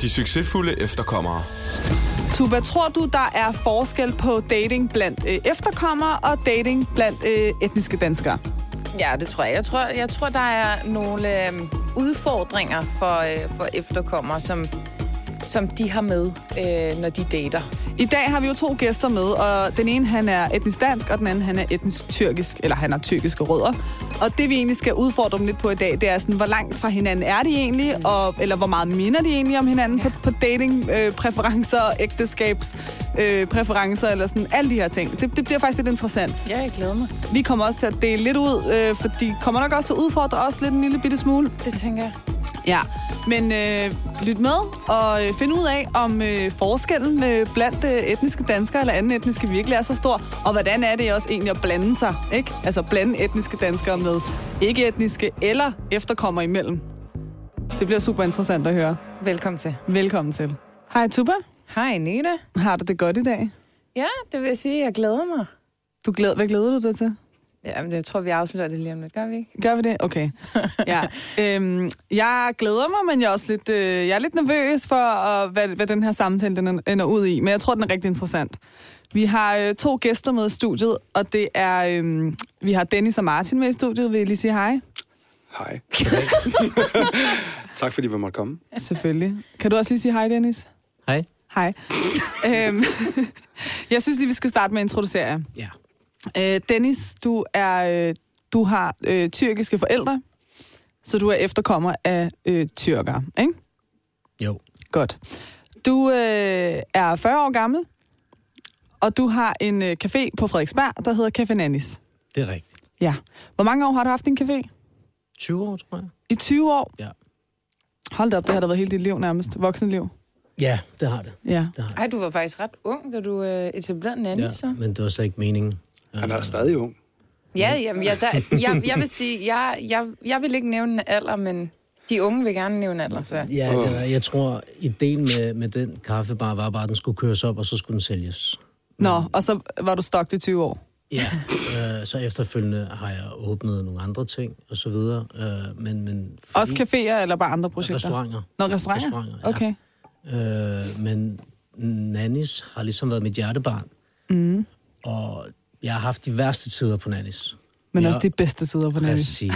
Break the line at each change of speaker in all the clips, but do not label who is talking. De succesfulde efterkommere.
Tuba, tror du, der er forskel på dating blandt øh, efterkommere og dating blandt øh, etniske danskere?
Ja, det tror jeg. Jeg tror, jeg tror der er nogle øh, udfordringer for, øh, for efterkommere, som, som de har med, øh, når de dater.
I dag har vi jo to gæster med, og den ene han er etnisk dansk, og den anden han er etnisk tyrkisk, eller han har tyrkiske rødder. Og det vi egentlig skal udfordre dem lidt på i dag, det er sådan, hvor langt fra hinanden er de egentlig, og, eller hvor meget minder de egentlig om hinanden på, på datingpræferencer, øh, ægteskabspræferencer, øh, præferencer, eller sådan alle de her ting. Det, det bliver faktisk lidt interessant.
Ja, jeg glæder mig.
Vi kommer også til at dele lidt ud, øh, for de kommer nok også til at udfordre os lidt en lille bitte smule.
Det tænker jeg.
Ja, men øh, lyt med og øh, find ud af, om øh, forskellen øh, blandt øh, etniske danskere eller anden etniske virkelig er så stor, og hvordan er det også egentlig at blande sig, ikke? Altså blande etniske danskere med ikke-etniske eller efterkommer imellem. Det bliver super interessant at høre.
Velkommen til.
Velkommen til. Hej Tuba,
Hej, Nina.
har du det godt i dag?
Ja, det vil jeg sige, jeg glæder mig.
Du glæder, hvad glæder du dig til?
Jamen, jeg tror, vi afslører det lige om lidt, gør vi ikke?
Gør vi det? Okay. Ja. Øhm, jeg glæder mig, men jeg er også lidt, øh, jeg er lidt nervøs for, øh, hvad, hvad den her samtale den ender ud i. Men jeg tror, den er rigtig interessant. Vi har øh, to gæster med i studiet, og det er, øh, vi har Dennis og Martin med i studiet. Vil I lige sige hej?
Hej. tak fordi vi måtte komme.
Selvfølgelig. Kan du også lige sige hej, Dennis?
Hej.
Hej. øhm, jeg synes lige, vi skal starte med at introducere jer.
Ja.
Øh, Dennis, du, er, øh, du har øh, tyrkiske forældre, så du er efterkommer af øh, tyrker, ikke?
Jo.
Godt. Du øh, er 40 år gammel, og du har en øh, café på Frederiksberg, der hedder Café Nannis.
Det er rigtigt.
Ja. Hvor mange år har du haft din café?
20 år, tror jeg.
I 20 år?
Ja.
Hold da op, det har da været hele dit liv nærmest. Voksenliv.
Ja, det har det.
Ja.
Ej, du var faktisk ret ung, da du øh, etablerede Nanny, ja. så.
Ja, men det var slet ikke meningen.
Han er stadig ung.
Ja, jamen, ja, der, jeg, jeg vil sige, jeg, jeg, jeg vil ikke nævne en alder, men de unge vil gerne nævne alder, så...
Ja, det er, jeg tror, ideen med, med den kaffebar var bare, at den skulle køres op, og så skulle den sælges.
Nå, og så var du stokt i 20 år.
Ja. øh, så efterfølgende har jeg åbnet nogle andre ting, og så videre. Øh, men, men fordi-
Også caféer eller bare andre projekter?
Restauranter.
Nå, restauranter?
Restauranter, ja.
Okay.
Øh, men Nannis har ligesom været mit hjertebarn. Mm. Og jeg har haft de værste tider på Nannis.
Men
Ja.
også de bedste sider på Nannis.
Præcis.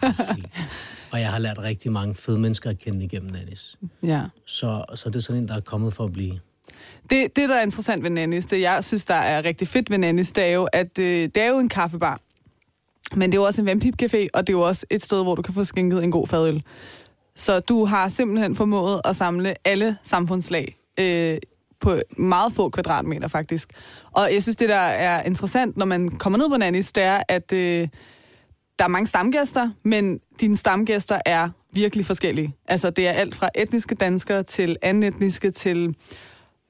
præcis. og jeg har lært rigtig mange fede mennesker at kende igennem Nannis.
Ja.
Så, så det er sådan en, der er kommet for at blive.
Det, det, der er interessant ved Nannis, det jeg synes, der er rigtig fedt ved Nannis, det er jo, at øh, det er jo en kaffebar. Men det er jo også en vandpipcafé, og det er jo også et sted, hvor du kan få skænket en god fadøl. Så du har simpelthen formået at samle alle samfundslag øh, på meget få kvadratmeter, faktisk. Og jeg synes, det der er interessant, når man kommer ned på Nannis, det er, at øh, der er mange stamgæster, men dine stamgæster er virkelig forskellige. Altså, det er alt fra etniske danskere til anden etniske til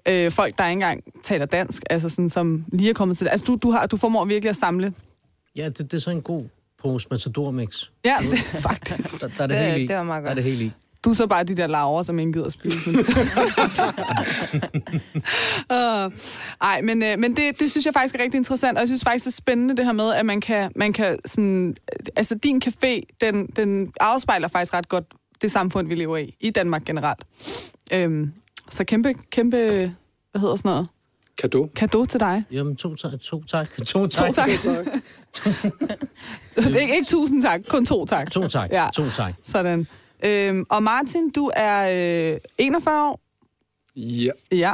øh, folk, der ikke engang taler dansk, altså sådan som lige er kommet til det. Altså, du, du, har, du formår virkelig at samle.
Ja, det, det er sådan en god pose matador-mix.
Ja, det, faktisk.
Der, der er det,
Det-
helt i.
det var meget
Der er det helt i.
Du er så bare de der laver, som ingen gider at spise. Men det... uh, ej, men, øh, men det, det synes jeg faktisk er rigtig interessant, og jeg synes faktisk, det er spændende det her med, at man kan, man kan sådan... Altså, din café, den, den afspejler faktisk ret godt det samfund, vi lever i, i Danmark generelt. Øhm, så kæmpe, kæmpe, hvad hedder sådan noget,
Kado.
kado til dig.
Jamen, to tak. To tak. To tak.
To tak. det er ikke, ikke tusind tak, kun to tak.
To tak.
Ja.
To tak.
Sådan. Øhm, og Martin, du er øh, 41 år.
Ja.
Ja.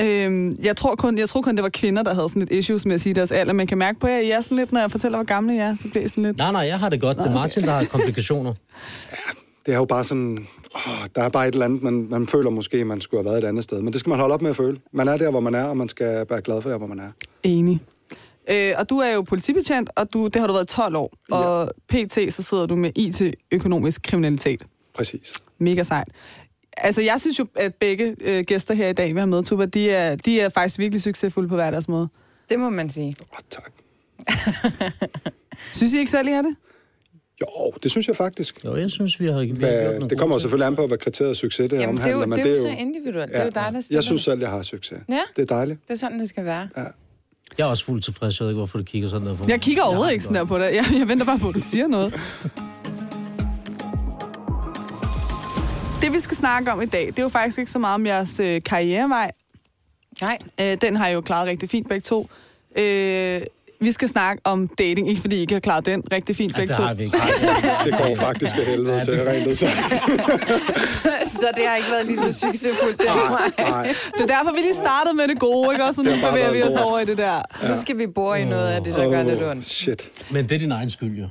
Øhm, jeg, tror kun, jeg tror kun, det var kvinder, der havde sådan lidt issues med at sige deres alder. Man kan mærke på jer, I er sådan lidt, når jeg fortæller, hvor gamle I er, så bliver I sådan lidt...
Nej, nej, jeg har det godt. Det er Martin, der har komplikationer.
Det er jo bare sådan... Åh, der er bare et eller andet, man, man føler måske, man skulle have været et andet sted. Men det skal man holde op med at føle. Man er der, hvor man er, og man skal være glad for der, hvor man er.
Enig. Øh, og du er jo politibetjent, og du, det har du været i 12 år. Og pt. så sidder du med IT-økonomisk kriminalitet.
Præcis.
Mega sejt. Altså, jeg synes jo, at begge øh, gæster her i dag, vi har med, Tuba, de er, de er faktisk virkelig succesfulde på hver deres måde.
Det må man sige.
Åh, tak.
Synes I ikke selv, I er det?
Jo, det synes jeg faktisk.
Jo, jeg synes, vi har, vi har gjort
Hvad,
nogle
det kommer
gode ting.
selvfølgelig an på, hvad kriteriet succes det
Jamen, det er jo,
omhandler.
det er jo,
men
det er jo så individuelt. Ja, det er jo dig, der stiller
Jeg synes
det.
selv, jeg har succes.
Ja.
Det er dejligt.
Det er sådan, det skal være.
Ja.
Jeg er også fuldt tilfreds. Jeg ved ikke, hvorfor du kigger sådan der på mig.
Jeg kigger overhovedet
har
ikke
det
sådan der
godt.
på dig. Jeg, jeg venter bare på, at du siger noget. Det, vi skal snakke om i dag, det er jo faktisk ikke så meget om jeres øh, karrierevej.
Nej.
Øh, den har I jo klaret rigtig fint begge to. Øh, vi skal snakke om dating, ikke fordi I ikke har klaret den rigtig fint
Ja,
begge
det
to.
har vi ikke.
Det går faktisk af helvede til rent ud sagt.
så det har ikke været lige så succesfuldt den vej.
Nej,
Det er derfor, vi lige startede med det gode, ikke? Og så nu
Det har bare
bevæger vi
været
os
lort.
over i det der.
Nu skal vi bore i noget af det, der gør lidt
Åh,
ondt.
shit.
Men det er din egen skyld, jo.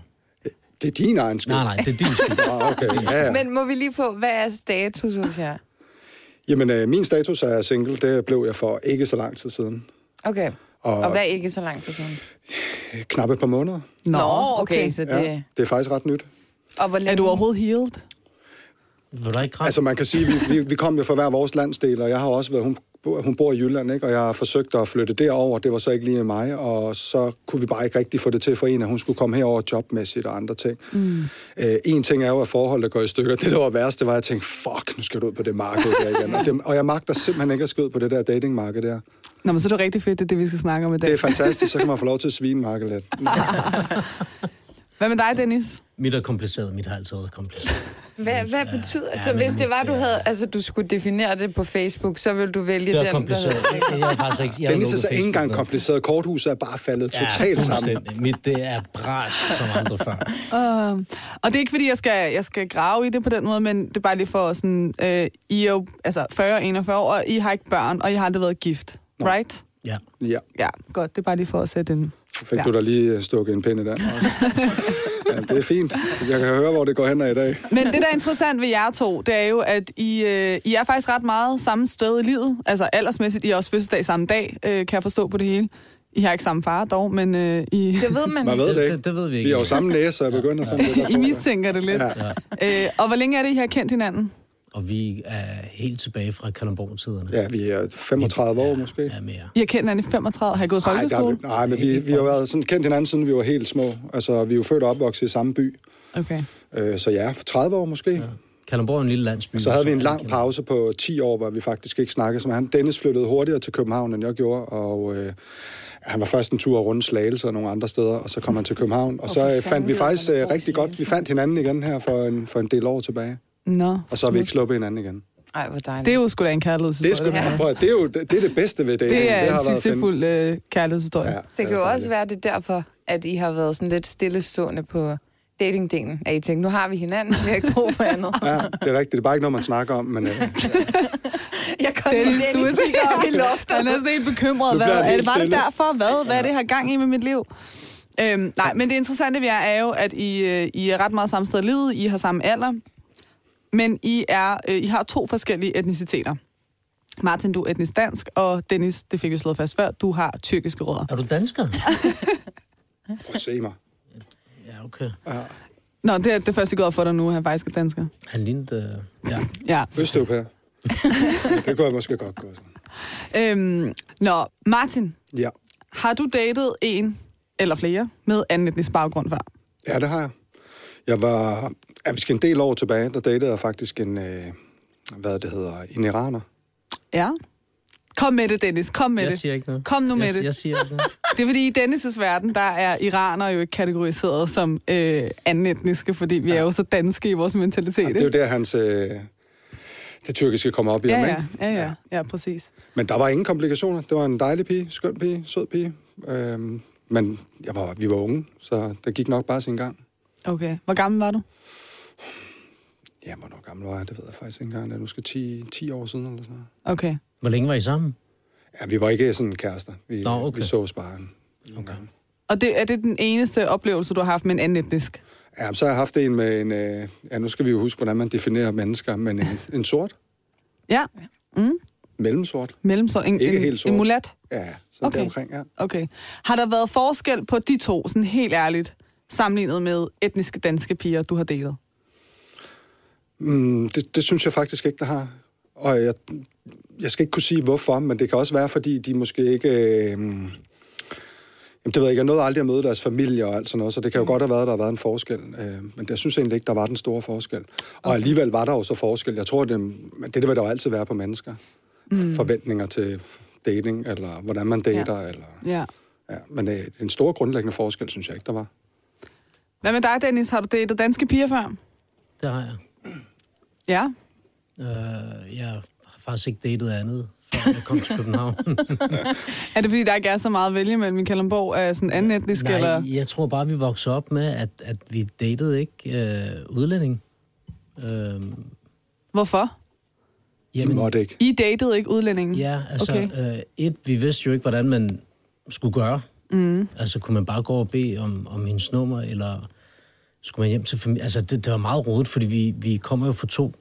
Det er din egen skyld.
Nej, nej, det er din skyld.
Ah, okay. Ja, ja.
Men må vi lige få, hvad er status hos jer?
Jamen, øh, min status er single. Det blev jeg for ikke så lang tid siden.
Okay.
Og-
Og, og hvad er ikke så lang tid siden?
Øh, Knap et par måneder.
Nå, okay, så det...
Ja, det er faktisk ret nyt.
Og hvor længe...
Er du overhovedet healed?
Vil du ikke kramme?
Altså, man kan sige, vi, vi, vi kom jo fra hver vores landsdel, og jeg har også været... Hun, hun bor i Jylland, ikke? og jeg har forsøgt at flytte derover. Det var så ikke lige mig, og så kunne vi bare ikke rigtig få det til for en, at hun skulle komme herover jobmæssigt og andre ting. Mm. Øh, en ting er jo, at forholdet går i stykker. Det, der var værst, det var, at jeg tænkte, fuck, nu skal du ud på det marked der igen. Og, det, og jeg magter simpelthen ikke at skulle ud på det der datingmarked der.
Nå, men så er det rigtig fedt, det er det, vi skal snakke om i dag.
Det er fantastisk, så kan man få lov til at svine markedet lidt.
Hvad med dig, Dennis?
Mit er kompliceret, mit har altid været kompliceret.
Hvad, hvad betyder...
ja,
så
men-
hvis det var, du
ja.
havde... Altså, du skulle definere det på Facebook, så ville du vælge
Det er
den,
kompliceret.
der hedder...
Jeg er faktisk ikke... Jeg har
Dennis er
lukket
så ikke engang
Facebook ned.
kompliceret. Korthuset er bare faldet totalt sammen.
fuldstændig. Mit, det er bras som andre før.
Uh, og det er ikke, fordi jeg skal, jeg skal grave i det på den måde, men det er bare lige for sådan, øh, I er jo altså 40-41 år, og I har ikke børn, og I har aldrig været gift, right?
Ja.
Ja,
Ja, godt, det er bare lige for at sætte en...
fik
Ja.
du da lige øh, stukket en pinde der. Ja, det er fint. Jeg kan høre, hvor det går hen ad i dag.
Men det, der er interessant ved jer to, det er jo, at I, øh, I er faktisk ret meget samme sted i livet. Altså aldersmæssigt, I er også fødselsdag samme dag, øh, kan jeg forstå på det hele. I har ikke samme far dog, men øh, I,
Det ved man.
Man ved
Det-
det ikke.
det- det ved vi ikke.
Vi er jo samme næse, så jeg begynder sådan lidt. at
I
tro det.
mistænker det lidt.
Ja.
Øh, og hvor længe er det, I har kendt hinanden?
Og vi er helt tilbage fra Kalamborg-tiderne.
Ja, vi er 35 år måske.
Ja, mere.
I har kendt hinanden i 35, har I gået i
Nej, der er,
folkeskole?
vi- nej, men vi, vi har været sådan, kendt hinanden, siden vi var helt små. Altså, vi er jo født og opvokset i samme by.
Okay.
Øh, Så ja, 30 år måske.
Kalamborg er en lille
Mm,
landsby.
Så havde vi en lang
kender-
pause på 10 år, hvor vi faktisk ikke snakkede. Så han, Dennis flyttede hurtigere til København, end jeg gjorde, og øh, han var først en tur rundt Slagelse og nogle andre steder, og så kom han til København. Og
for
så øh,
fanden
fandt vi
ved jeg,
faktisk
hvordan
øh,
det går i
rigtig godt, vi
Slagelse.
fandt hinanden igen her for en, for en del år tilbage.
Nå,
Og så har vi ikke sluppet hinanden igen.
Ej, hvor dejligt.
Det er jo sgu da en kærlighedshistorie.
Det er, sgu,
her.
prøv, at- det, er jo, det, det er det bedste ved det.
det er en
har været
succesfuld øh, kærlighedshistorie.
fedt.
Ja.
Det kan
er
jo også
dejligt.
være det er derfor, at I har været sådan lidt stillestående på datingdelen. At I tænkte, nu har vi hinanden, vi har ikke brug for andet.
Ja, det er rigtigt. Det er bare ikke noget, man snakker om, men øh,
Jeg kan
Dennis,
lide
du er
Dennis kigger op i loftet.
Han er sådan helt bekymret.
Nu bliver
Hvad,
jeg
er det,
helt
var det
stille.
derfor? Hvad, hvad er det, jeg har gang i med mit liv? Øhm, nej, men det interessante ved jer er jo, at I, øh, I er ret meget samme sted i livet. I har samme alder. Men I, er, øh, I har to forskellige etniciteter. Martin, du er etnisk dansk, og Dennis, det fik vi slået fast før, du har tyrkiske rødder.
Er du dansker?
prøv at se mig.
Ja, okay.
Nå, det er det første, jeg går op for dig nu, at han faktisk er dansker.
Han lignede... Øh, ja.
Ja.
Østeuropæer. Det kunne jeg måske godt gå sådan.
Øhm, nå, Martin,
Ja.
Har du datet en eller flere med anden etnisk baggrund før?
Ja, det har jeg. Jeg var, ja, vi skal en del år tilbage, der datede jeg faktisk en, øh, hvad det hedder, en iraner.
Ja. Kom med det, Dennis. Kom med
Jeg
det.
siger ikke noget.
Kom nu med
jeg,
det.
Jeg siger ikke noget.
Det er fordi, i Dennis' verden, der er iranere jo ikke kategoriseret som øh, anden etniske, fordi vi er jo så danske i vores mentalitet.
Og det er jo
ikke?
der, hans, øh, det tyrkiske kommer op i
Ja,
ham,
ja,
ikke?
ja, ja, ja, præcis.
Men der var ingen komplikationer. Det var en dejlig pige, skøn pige, sød pige. Øhm, men jeg var, vi var unge, så der gik nok bare sin gang.
Okay. Hvor gammel var du?
Ja, hvor gammel var jeg? Det ved jeg faktisk ikke engang. Det er måske 10, 10 år siden eller sådan noget.
Okay.
Hvor længe var I sammen?
Ja, vi var ikke sådan kærester. Vi,
Nå, okay.
vi sås bare en nogle gange.
Og det, er det den eneste oplevelse, du har haft med en anden etnisk?
Ja, så har jeg haft en med en... Øh, ja, nu skal vi jo huske, hvordan man definerer mennesker, men en, en sort.
Ja. Mm.
Mellemsort.
Mellemsort. En,
Ikke
en,
helt sort.
en mulat?
Ja, sådan
Okay.
okay. omkring, ja.
Okay. Har der været forskel på de to, sådan helt ærligt, sammenlignet med etniske danske piger, du har delet?
Mm, det, det synes jeg faktisk ikke, der har. Og jeg, jeg skal ikke kunne sige, hvorfor, men det kan også være, fordi de måske ikke... Øh, jamen, det ved jeg ikke. Jeg nåede aldrig at møde deres familie og alt sådan noget, så det kan jo godt have været, at der har været en forskel. Øh, men jeg synes egentlig ikke, der var den store forskel. Og alligevel var der jo så forskel. Jeg tror, det, men det, det vil der jo altid være på mennesker. Mm. Forventninger til dating, eller hvordan man dater, ja. eller...
Ja.
Ja, men øh, den store grundlæggende forskel, synes jeg ikke, der var.
Hvad med dig, Dennis? Har du datet danske piger før?
Det har jeg.
Ja.
Øh, jeg har faktisk ikke datet andet, før jeg kom til København.
Er det, fordi der ikke er så meget at vælge mellem i Kalundborg af sådan anden etnisk?
Nej,
eller?
jeg tror bare, vi voksede op med, at, at vi datede ikke øh, udlænding. Øh,
Hvorfor?
Jamen, de måtte ikke.
I datede ikke udlændingen?
Ja, altså,
Okay.
okay. øh, et, vi vidste jo ikke, hvordan man skulle gøre. Mm. Altså, kunne man bare gå og bede om, om hendes nummer, eller skulle man hjem til familien? Altså, det, det var meget rodet, fordi vi, vi kommer jo fra to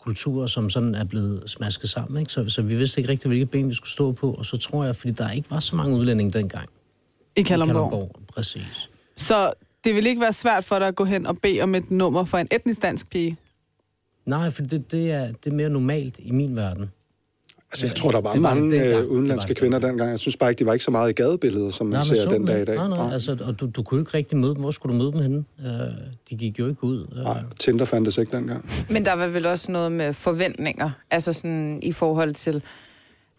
kulturer, som sådan er blevet smasket sammen, ikke? Så, så vi vidste ikke rigtig, hvilket ben vi skulle stå på, og så tror jeg, fordi der ikke var så mange udlændinge dengang. i
I Kalundborg.
Kalundborg. Præcis.
Så det vil ikke være svært for dig at gå hen og bede om et nummer for en etnisk dansk pige?
Nej, for det, det, er, det er mere normalt i min verden.
Altså, jeg tror, der var,
Det var det
mange
dengang.
øh,
Det var
udenlandske
det
kvinder
dengang.
dengang. Jeg synes bare ikke, de var ikke så meget i gadebilledet, som man
Nej, men
ser
så
den
man-
dag Ah. i dag.
Nej, nej, altså, og du, du kunne jo ikke rigtig møde dem. Hvor skulle du møde dem henne? Øh, de gik jo ikke ud. Øh,
nej, Tinder fandtes ikke dengang.
Men der var vel også noget med forventninger, altså sådan i forhold til,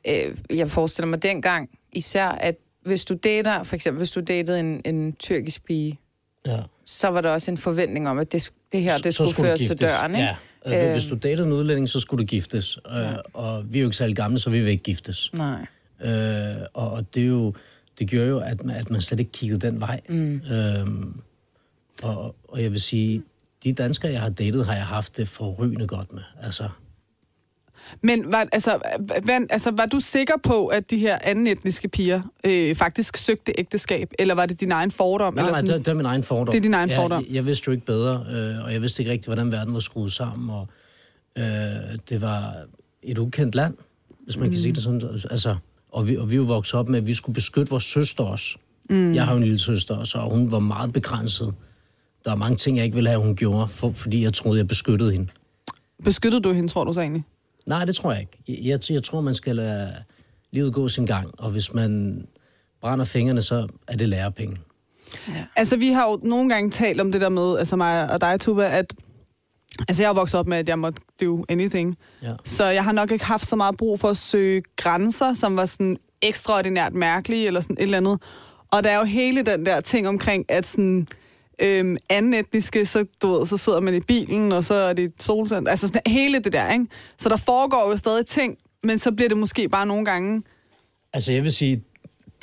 øh, jeg forestiller mig dengang især, at hvis du dater, for eksempel hvis du datede en, en tyrkisk pige,
ja.
så var der også en forventning om, at det, sk- det her, det skulle, skulle føres til
giftes.
døren, ikke? Øhm.
Ja. Altså, øh... Hvis du datede en udlænding, så skulle du giftes. Øh, Og vi er jo ikke særlig gamle, så vi vil ikke giftes.
Nej.
Øh, og, og det, er jo, det gjorde jo, at man, at man slet ikke kiggede den vej. Mm. Øhm, og, og jeg vil sige, de danskere, jeg har datet, har jeg haft det forrygende godt med. Altså,
Men var, altså, hvad, altså, var du sikker på, at de her anden etniske piger øh, faktisk søgte ægteskab? Eller var det din egen fordom?
nej,
eller
nej,
sådan?
det, det er min egen fordom.
Det er din egen
jeg,
fordom.
Jeg, jeg vidste jo ikke bedre, øh, og jeg vidste ikke rigtig, hvordan verden var skruet sammen. Og, øh, det var et ukendt land, hvis man mm. kan sige det sådan. Altså, og, vi, og vi er jo vokset op med, at vi skulle beskytte vores søster også. Mm. Jeg har jo en lille søster, og så hun var meget begrænset. Der er mange ting, jeg ikke ville have, hun gjorde, for, fordi jeg troede, jeg beskyttede hende.
Beskyttede du hende, tror du så egentlig?
Nej, det tror jeg ikke. Jeg, jeg, jeg tror, man skal lade livet gå sin gang, og hvis man brænder fingrene, så er det lærepenge.
Altså, vi har jo nogle gange talt om det der med, altså mig og dig, Tuba, at... Altså, jeg er jo vokset op med, at jeg måtte do anything.
Ja.
Så jeg har nok ikke haft så meget brug for at søge grænser, som var sådan ekstraordinært mærkelige, eller sådan et eller andet. Og der er jo hele den der ting omkring, at sådan... Øhm, anden etniske, så, du ved, så sidder man i bilen, og så er det et solcenter. Altså sådan, hele det der, ikke? Så der foregår jo stadig ting, men så bliver det måske bare nogle gange...
Altså, jeg vil sige,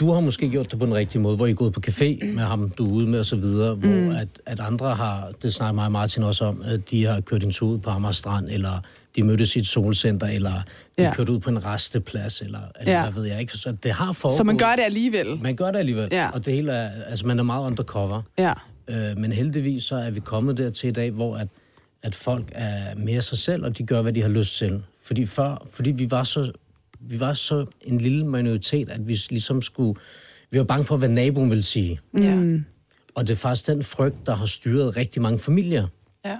du har måske gjort det på den rigtige måde, hvor I er gået på café med ham, du er ude med osv., hvor mm. at, at andre har, det snakker mig og Martin også om, at de har kørt en tur ud på Amager Strand, eller de mødtes i et solcenter, eller de
Ja.
ja. kørte ud på en resteplads, eller, eller
Ja.
ja. hvad ved jeg ikke. Så det har foregået.
Så man gør det alligevel.
Man gør det alligevel,
Ja.
ja. og det hele er, altså man er meget undercover.
Ja.
Øh, men heldigvis så er vi kommet dertil i dag, hvor at, at folk er mere sig selv, og de gør, hvad de har lyst til. Fordi, før, fordi vi, var så, vi var så en lille minoritet, at vi ligesom skulle... Vi var bange for, hvad naboen ville sige.
Ja.
Mm,
Og det er faktisk den frygt, der har styret rigtig mange familier.
ja.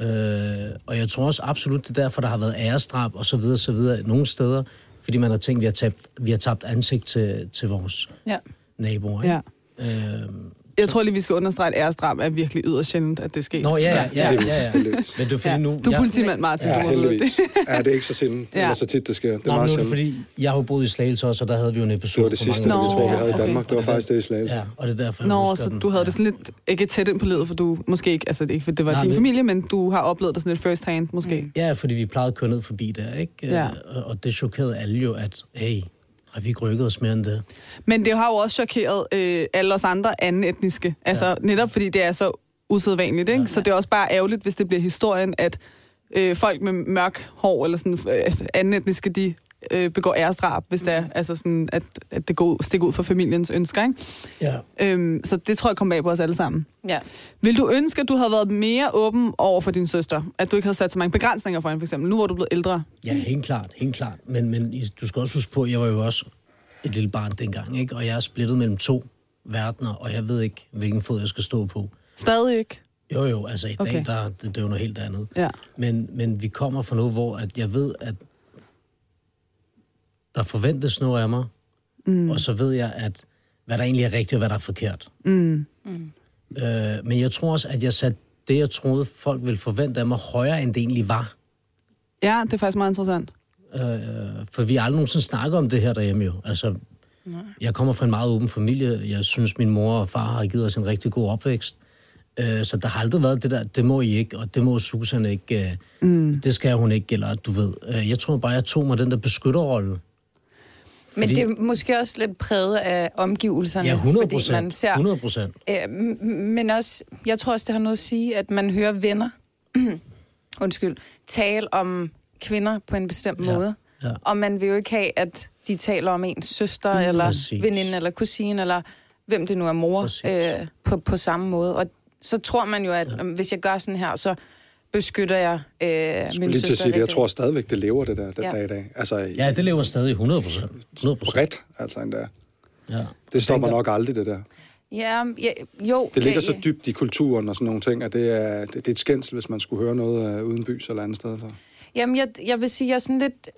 Øh, og jeg tror også absolut, det er derfor, der har været æresdrab og så videre, så videre nogle steder, fordi man har tænkt, vi har tabt, vi har tabt ansigt til, til vores
ja.
naboer. Ikke?
Ja.
Øh,
Jeg tror lige, vi skal understrege, at æresdrab er virkelig yderst sjældent, at det sker.
nå, ja, ja, ja,
Heldigvis,
ja, ja.
heldigvis.
Men det er fordi
Ja.
nu...
Du er
jeg-
politimand, Martin.
Ja,
du må vide det.
heldigvis. Ja, det er ikke så sindt,
Ja.
ja. eller så tit, det sker. Det er
Nå, men
meget
nu er det
sjældent.
fordi, jeg har jo boet i Slagelse også, og der havde vi jo en
Det var
episode.
det
for
sidste,
mange
Nå,
år
vi tror, vi
ja,
havde i altså.
okay.
Danmark. Det var faktisk det i Slagelse.
Ja, og det er derfor, jeg
Nå,
husker
så
den.
du havde
ja.
det sådan lidt, ikke tæt ind på livet, for du måske ikke, altså det er ikke, for det var
Nej,
din
men-
familie, men du har oplevet det sådan lidt first hand, måske. Mm.
Ja, fordi vi plejede at køre ned forbi der, ikke?
Ja.
Øh, Og, og det chokerede alle jo, at hey, har vi ikke rykket os mere end det?
Men det har jo også chokeret øh, alle os andre anden etniske. Altså ja. netop fordi det er så usædvanligt, ikke? Ja. Så det er også bare ærgerligt, hvis det bliver historien, at øh, folk med mørk hår eller sådan øh, anden etniske, de øh, begår æresdrab, hvis
Mm.
det er altså sådan, at, at det går ud, stikker ud for familiens ønsker, ikke?
Ja.
Øhm, så det tror jeg kom bag på os alle sammen.
ja.
Vil du ønske, at du havde været mere åben over for din søster? At du ikke havde sat så mange begrænsninger for hende, for eksempel? Nu hvor du er blevet ældre.
Ja, helt klart, helt klart. Men, men I- du skal også huske på, at jeg var jo også et lille barn dengang, ikke? Og jeg er splittet mellem to verdener, og jeg ved ikke, hvilken fod jeg skal stå på.
Stadig ikke?
Jo, jo, altså i dag,
Okay.
okay. der, det, det er jo noget helt andet.
Ja.
Men, men vi kommer fra noget, hvor at jeg ved, at der forventes noget af mig, mm. og så ved jeg, at hvad der egentlig er rigtigt, og hvad der er forkert. Mm. Mm. Øh, men jeg tror også, at jeg satte det, jeg troede, folk ville forvente af mig, højere, end det egentlig var.
Ja, det er faktisk meget interessant.
Øh, for vi har aldrig nogensinde snakket om det her derhjemme jo. Altså, Nej. Jeg kommer fra en meget åben familie. Jeg synes, min mor og far har givet os en rigtig god opvækst. Øh, så der har aldrig været det der, det må I ikke, og det må Susan ikke, øh, mm. det skal hun ikke, eller du ved. Øh, jeg tror bare, jeg tog mig den der beskytterrolle.
Men det er måske også lidt præget af omgivelserne,
Ja, 100
fordi man
procent.
ser...
100 procent.
Øh, m- men også, jeg tror også, det har noget at sige, at man hører venner, undskyld, tale om kvinder på en bestemt
Ja,
måde.
ja.
Og man vil jo ikke have, at de taler om ens søster, mm, eller
præcis.
veninde, eller kusine, eller hvem det nu er mor,
Præcis.
øh, på, på samme måde. Og så tror man jo, at ja. hvis jeg gør sådan her, så beskytter jeg øh, min
Min lige
søster.
til at sige det. Jeg
rigtig
tror stadigvæk, det lever det der den
Ja.
ja. dag i dag. Altså ja.
Ja, det lever stadig 100 procent. 100 procent.
bredt, altså endda.
Ja.
Det stopper nok aldrig, det der.
Ja, ja, jo.
Det ligger
ja,
så dybt i kulturen og sådan nogle ting, at det er, det, det er et skændsel, hvis man skulle høre noget øh, uden bys eller andet sted. Så.
Jamen, jeg, jeg vil sige, jeg er sådan lidt...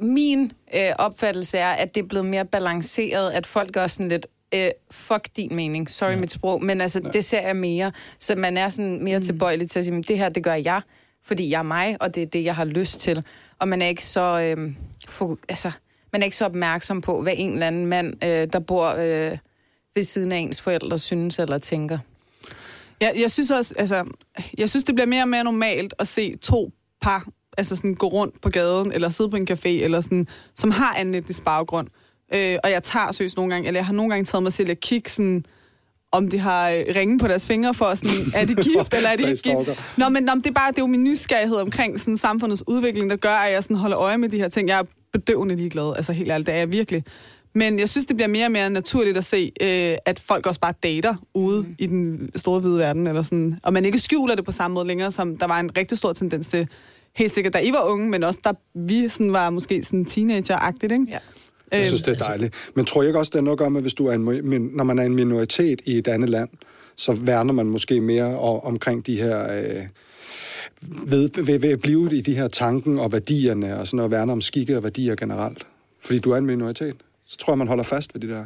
Min øh, opfattelse er, at det er blevet mere balanceret, at folk gør sådan lidt, øh, fuck din mening, sorry ja. mit sprog, men altså, ja. det ser jeg mere. Så man er sådan mere mm. tilbøjelig til at sige, "Men det her, det gør jeg, fordi jeg er mig, og det er det, jeg har lyst til. Og man er ikke så... Øh, fo- altså, man er ikke så opmærksom på, hvad en eller anden mand, øh, der bor øh, ved siden af ens forældre, synes eller tænker.
Jeg, jeg synes også, altså, jeg synes, det bliver mere og mere normalt at se to par altså sådan, gå rundt på gaden, eller sidde på en café, eller sådan, som har anden etnisk baggrund. Øh, og jeg tager søs nogle gange, eller jeg har nogle gange taget mig selv at kigge sådan, om de har øh, ringe på deres fingre for, sådan, er de gift, eller er de
Så I
ikke gift?
stalker.
Nå, men, nå, men det er bare det er jo min nysgerrighed omkring sådan, samfundets udvikling, der gør, at jeg sådan, holder øje med de her ting. Jeg er bedøvende ligeglad, altså helt ærligt, det er jeg virkelig. Men jeg synes, det bliver mere og mere naturligt at se, øh, at folk også bare dater ude mm. i den store hvide verden, eller sådan. og man ikke skjuler det på samme måde længere, som der var en rigtig stor tendens til, helt sikkert, da I var unge, men også da vi sådan var måske sådan teenager-agtigt, ikke?
Ja.
Jeg
Øhm,
synes, det er dejligt. Men tror jeg ikke også, det er noget at gøre med, hvis du er en, mi- min- når man er en minoritet i et andet land, så værner man måske mere o- omkring de her... Øh, ved, ved, ved at blive i de her tanken og værdierne og sådan noget, værner om skikke og værdier generelt. Fordi du er en minoritet. Så tror jeg, man holder fast ved det der.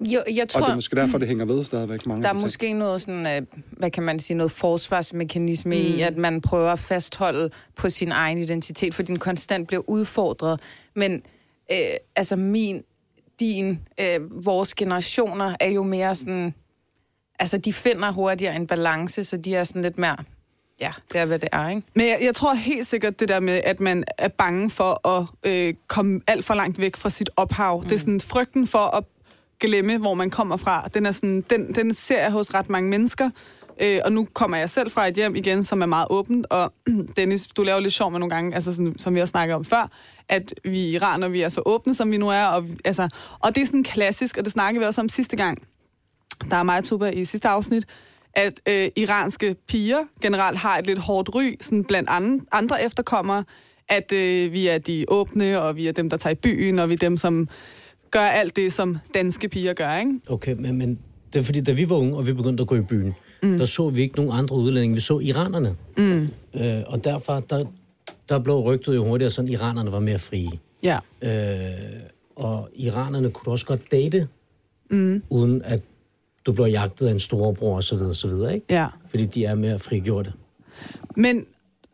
Jo, jeg tror...
Og det er måske derfor, det hænger ved stadigvæk mange
Der
af de
er
ting.
måske noget sådan, øh, hvad kan man sige, noget forsvarsmekanisme mm. i, at man prøver at fastholde på sin egen identitet, fordi den konstant bliver udfordret. Men øh, altså min, din, øh, vores generationer er jo mere sådan, altså de finder hurtigere en balance, så de er sådan lidt mere, ja, det er hvad det er, ikke?
Men jeg, jeg tror helt sikkert det der med, at man er bange for at øh, komme alt for langt væk fra sit ophav. Mm. Det er sådan frygten for at glemme, hvor man kommer fra. Den, er sådan, den, den ser jeg hos ret mange mennesker. Øh, og nu kommer jeg selv fra et hjem igen, som er meget åbent. Og Dennis, du laver lidt sjov med nogle gange, altså sådan, som vi har snakket om før, at vi i Iran, og vi er så åbne, som vi nu er. Og, vi- altså, og det er sådan klassisk, og det snakkede vi også om sidste gang der er mig og Tuba i sidste afsnit, at øh, iranske piger generelt har et lidt hårdt ry, sådan blandt andre, andre efterkommere, at øh, vi er de åbne, og vi er dem, der tager i byen, og vi er dem, som gør alt det, som danske piger gør, ikke?
Okay, men, men det er fordi, da vi var unge, og vi begyndte at gå i byen, mm. der så vi ikke nogen andre udlændinge. Vi så iranerne. Mm. Øh, og derfor, der, der blev rygtet jo hurtigere, sådan iranerne var mere frie.
Ja.
Øh, og iranerne kunne også godt date, mm. uden at du blev jagtet af en storebror og så videre, og så videre, ikke?
Ja.
Fordi de er mere frigjorte.
Men,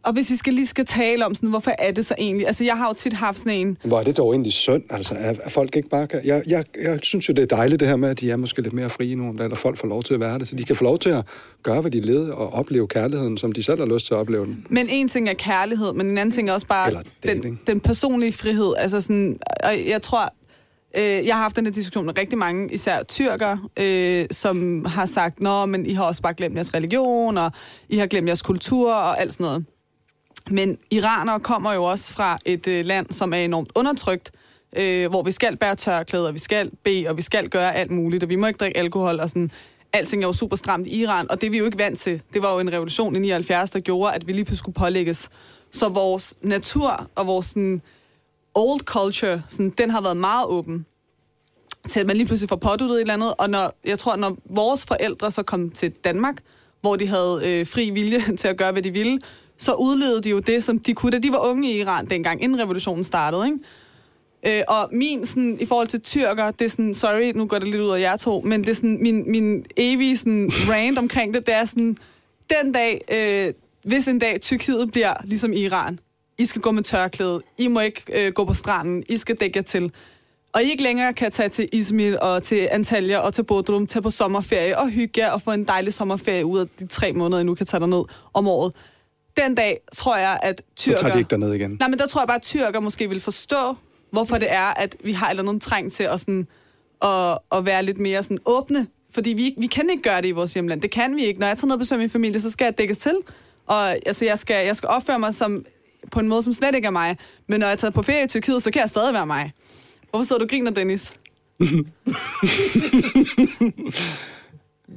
og hvis vi skal lige skal tale om sådan, hvorfor er det så egentlig? Altså, jeg har jo tit haft sådan en,
Hvor er det dog egentlig synd, altså, at at folk ikke bare kan... Jeg, jeg, jeg synes jo, det er dejligt det her med, at de er måske lidt mere frie nu om dagen, og folk får lov til at være det, så de kan få lov til at gøre, hvad de led, og opleve kærligheden, som de selv har lyst til at opleve den.
Men en ting er kærlighed, men en anden ting er også bare
Eller
den,
dating.
den personlige frihed. Altså sådan, og jeg tror, øh, jeg har haft den her diskussion med rigtig mange, især tyrker, øh, som har sagt, nå, men I har også bare glemt jeres religion, og I har glemt jeres kultur og alt sådan noget. Men iranere kommer jo også fra et øh, land, som er enormt undertrykt, øh, hvor vi skal bære tørklæder, vi skal bede, og vi skal gøre alt muligt, og vi må ikke drikke alkohol og sådan. Alting er jo super stramt i Iran, og det er vi jo ikke vant til. Det var jo en revolution i 79, der gjorde, at vi lige pludselig skulle pålægges. Så vores natur og vores sådan, old culture, sådan, den har været meget åben til at man lige pludselig får påduttet et eller andet. Og når, jeg tror, når vores forældre så kom til Danmark, hvor de havde øh, fri vilje til at gøre, hvad de ville, så udlevede de jo det, som de kunne, da de var unge i Iran dengang, inden revolutionen startede. Ikke? Øh, og min, sådan, i forhold til tyrker, det er sådan, sorry, nu går det lidt ud af jer to, men det er sådan, min, min evige sådan, rant omkring det, det er sådan, den dag, øh, hvis en dag Tyrkiet bliver ligesom Iran, I skal gå med tørklæde, I må ikke øh, gå på stranden, I skal dække jer til. og I ikke længere kan tage til Izmir og til Antalya og til Bodrum, tage på sommerferie og hygge jer og få en dejlig sommerferie ud af de tre måneder, I nu kan tage derned om året. Den dag tror jeg, at
Så
tyrker...
tager de ikke derned igen.
Nej, men der tror jeg bare, at tyrker måske vil forstå, hvorfor det er, at vi har et eller andet træng til at, sådan, at, at være lidt mere sådan åbne. Fordi vi, ikke- vi kan ikke gøre det i vores hjemland. Det kan vi ikke. Når jeg tager ned og besøger min familie, så skal jeg dækkes til. Og altså, jeg, skal, jeg skal opføre mig som, på en måde, som slet ikke er mig. Men når jeg tager på ferie i Tyrkiet, så kan jeg stadig være mig. Hvorfor sidder du og griner, Dennis?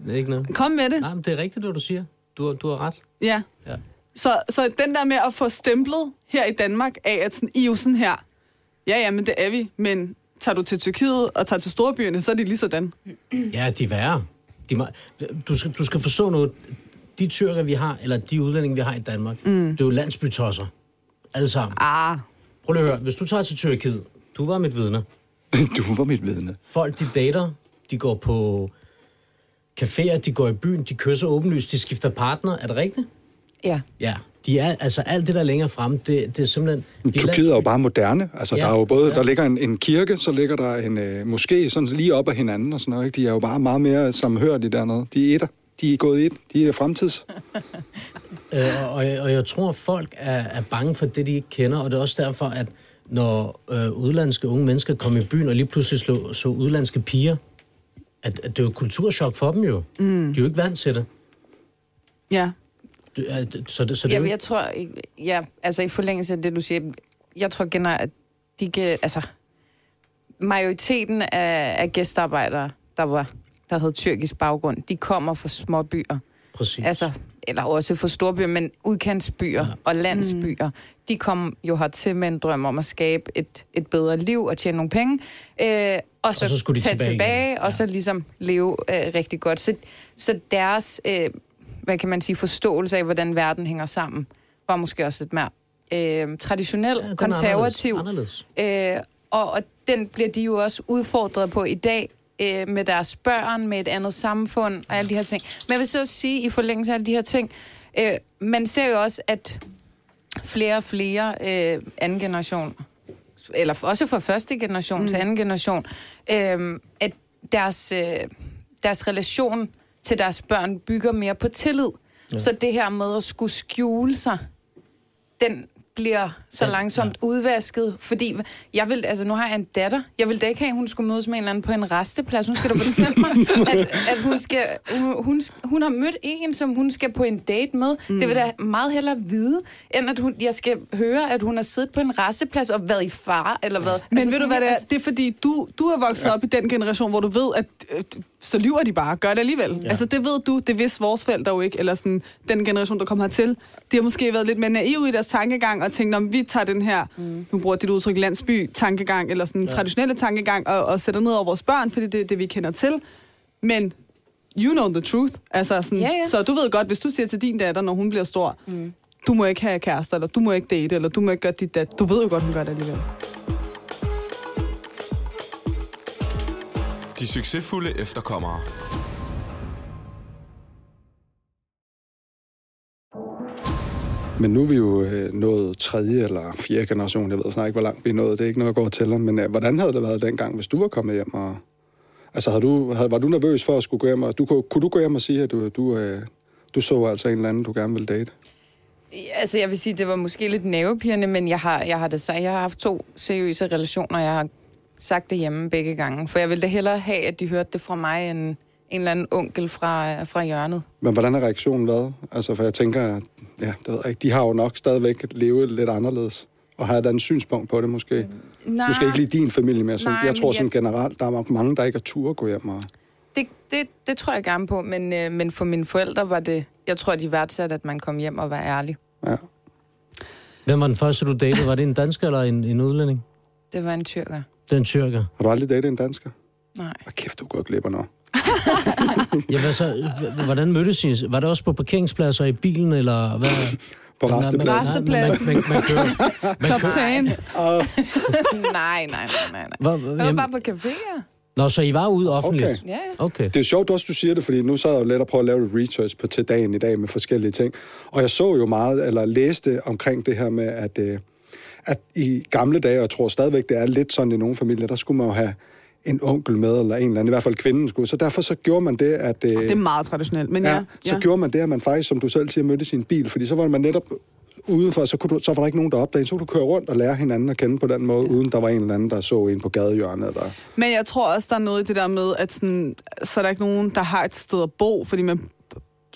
Det er ikke noget.
Kom med det.
Nej, men det er rigtigt, hvad du siger. Du, har- du har ret.
Ja.
Ja.
Så, så den der med at få stemplet her i Danmark af, at sådan, I er jo sådan her. Ja, ja, men det er vi. Men tager du til Tyrkiet og tager til storbyerne, så er de lige sådan.
Ja, de er værre. De er meget... du, skal, du skal forstå noget. De tyrker, vi har, eller de udlændinge, vi har i Danmark, mm. det er jo landsbytosser. Alle sammen.
Ah,
Prøv lige at høre. Hvis du tager til Tyrkiet, du var mit vidne.
Du var mit vidne.
Folk, de dater, de går på caféer, de går i byen, de kysser åbenlyst, de skifter partner. Er det rigtigt?
Ja.
Ja. De er, altså alt det, der er længere frem, det, det er simpelthen... De er
Tyrkiet er jo
landsby-
bare moderne. Altså,
Ja,
ja, der er jo både,
ja.
ja. der ligger en, en kirke, så ligger der en øh, moské sådan lige op ad hinanden og sådan noget. Ikke? De er jo bare meget mere samhørige dernede. De er etter. De er gået i et. De er fremtids.
Øh, og, og, jeg- og jeg tror, folk er, er bange for det, de ikke kender, og det er også derfor, at når øh, udlandske unge mennesker kom i byen og lige pludselig slå, så udlandske piger, at, at det var kulturschok for dem jo. Mm. De er jo ikke vant til det.
ja.
Det er- det- Så det, så det, er
Jeg,
jo ikke-
jeg tror, ja, altså i forlængelse af det, du siger, jeg tror generelt, at de kan, altså, majoriteten af, af gæstearbejdere, der var der havde tyrkisk baggrund, de kommer fra små byer.
præcis.
Altså, eller også fra storbyer, men udkantsbyer ja. og landsbyer. De kom jo hertil med en drøm om at skabe et, et bedre liv og tjene nogle penge. Øh, og, så
Og så skulle de
tage
tilbage
tilbage,
igen.
tilbage og
Ja.
så ligesom leve øh, rigtig godt. Så, så deres, øh, hvad kan man sige, forståelse af, hvordan verden hænger sammen, var måske også lidt mere øh, traditionel,
Ja, den
ja,
er
konservativ.
Anderledes.
Øh, og, og den bliver de jo også udfordret på i dag øh, med deres børn, med et andet samfund og alle de her ting. Men jeg vil så også sige, i forlængelse af alle de her ting, øh, man ser jo også, at flere og flere øh, anden generation, eller også fra første generation mm. til anden generation, øh, at deres, øh, deres relation til deres børn bygger mere på tillid. Ja. Så det her med at skulle skjule sig, den bliver så
Ja,
langsomt ja. udvasket, fordi jeg vil, altså nu har jeg en datter, jeg vil da ikke have, at hun skulle mødes med en eller anden på en resteplads. Hun skal da fortælle mig, at, at hun, skal, hun, hun, hun har mødt en, som hun skal på en date med. Mm. Det vil da meget hellere vide, end at hun, jeg skal høre, at hun har siddet på en resteplads og været i far, eller hvad.
Men
Altså
altså, ved du
sådan,
hvad det er?
altså-
Det er fordi, du, du er vokset ja. op i den generation, hvor du ved, at øh, så lyver de bare. Gør det alligevel. Ja. Altså det ved du, det vidste vores forældre jo ikke, eller sådan den generation, der kom hertil. De har måske været lidt mere naive i deres tankegang, og tænkt, om vi tager den her, mm. nu bruger jeg dit udtryk, landsby-tankegang, eller sådan ja. traditionelle tankegang, og, og sætter ned over vores børn, fordi det er det, vi kender til. Men you know the truth. Altså sådan,
Ja, ja.
Så du ved godt, hvis du siger til din datter, når hun bliver stor, mm. du må ikke have kærester, eller du må ikke date, eller du må ikke gøre dit dat. Du ved jo godt, hun gør det alligevel.
De succesfulde efterkommere.
Men nu er vi jo øh, nået tredje eller fjerde generation. Jeg ved snart ikke, hvor langt vi er nået. Det er ikke noget, jeg går og tæller. Men øh, hvordan havde det været dengang, hvis du var kommet hjem? Og... Altså, havde du, havde, var du nervøs for at skulle gå hjem? Og du, kunne, kunne du gå hjem og sige, at du, du, øh, du så altså en eller anden, du gerne ville date?
Altså, jeg vil sige, det var måske lidt nervepirrende, men jeg har, jeg har det sagt. Jeg har haft to seriøse relationer, jeg har sagt det hjemme begge gange. For jeg ville da hellere have, at de hørte det fra mig, end en eller anden onkel fra, fra hjørnet.
Men hvordan har reaktionen været? Altså, for jeg tænker, at- ja, det ved jeg ikke, de har jo nok stadigvæk levet lidt anderledes. Og har et andet synspunkt på det måske.
Nej,
Måske ikke lige din familie mere. Sådan.
Nej,
jeg
men
tror
jeg-
sådan generelt, der er nok mange, der ikke har tur at gå hjem. Og...
det, det, det tror jeg gerne på, men, øh, men for mine forældre var det... Jeg tror, de værdsatte, at man kom hjem og var ærlig.
Ja.
Hvem var den første, du datede? Var det en dansker eller en, en udlænding?
Det var en tyrker.
Det er en tyrker.
Har du aldrig datet en dansker?
Nej.
Ah, kæft, du er gået glip af noget.
Ja, hvad så, H- hvordan mødtes I? Var det også på parkeringspladser i bilen, eller hvad?
På
Man- man-
restepladsen.
Rastepladsen.
Man, man, man, man kører.
Kloptagen.
nej, nej, nej, nej.
Hvor,
Jeg var
jamen,
bare på caféer.
nå, så I var ude offentligt?
Ja, ja.
Okay.
Det er sjovt også, du siger det, fordi nu sad jeg jo lidt og prøvede at lave lidt research på til dagen i dag med forskellige ting. Og jeg så jo meget, eller læste omkring det her med, at, øh, at i gamle dage, og jeg tror stadigvæk, det er lidt sådan i nogle familier, der skulle man jo have en onkel med, eller en eller anden, i hvert fald kvinden skulle. Så derfor så gjorde man det, at... Øh,
Det er meget traditionelt, men ja. ja,
så gjorde man det, at man faktisk, som du selv siger, mødte sin bil, fordi så var man netop udenfor, så, kunne du, så var der ikke nogen, der opdagede, så kunne du køre rundt og lære hinanden at kende på den måde, ja. uden der var en eller anden, der så en på gadehjørnet. Der.
Men jeg tror også, der er noget i det der med, at sådan, så er der ikke nogen, der har et sted at bo, fordi man,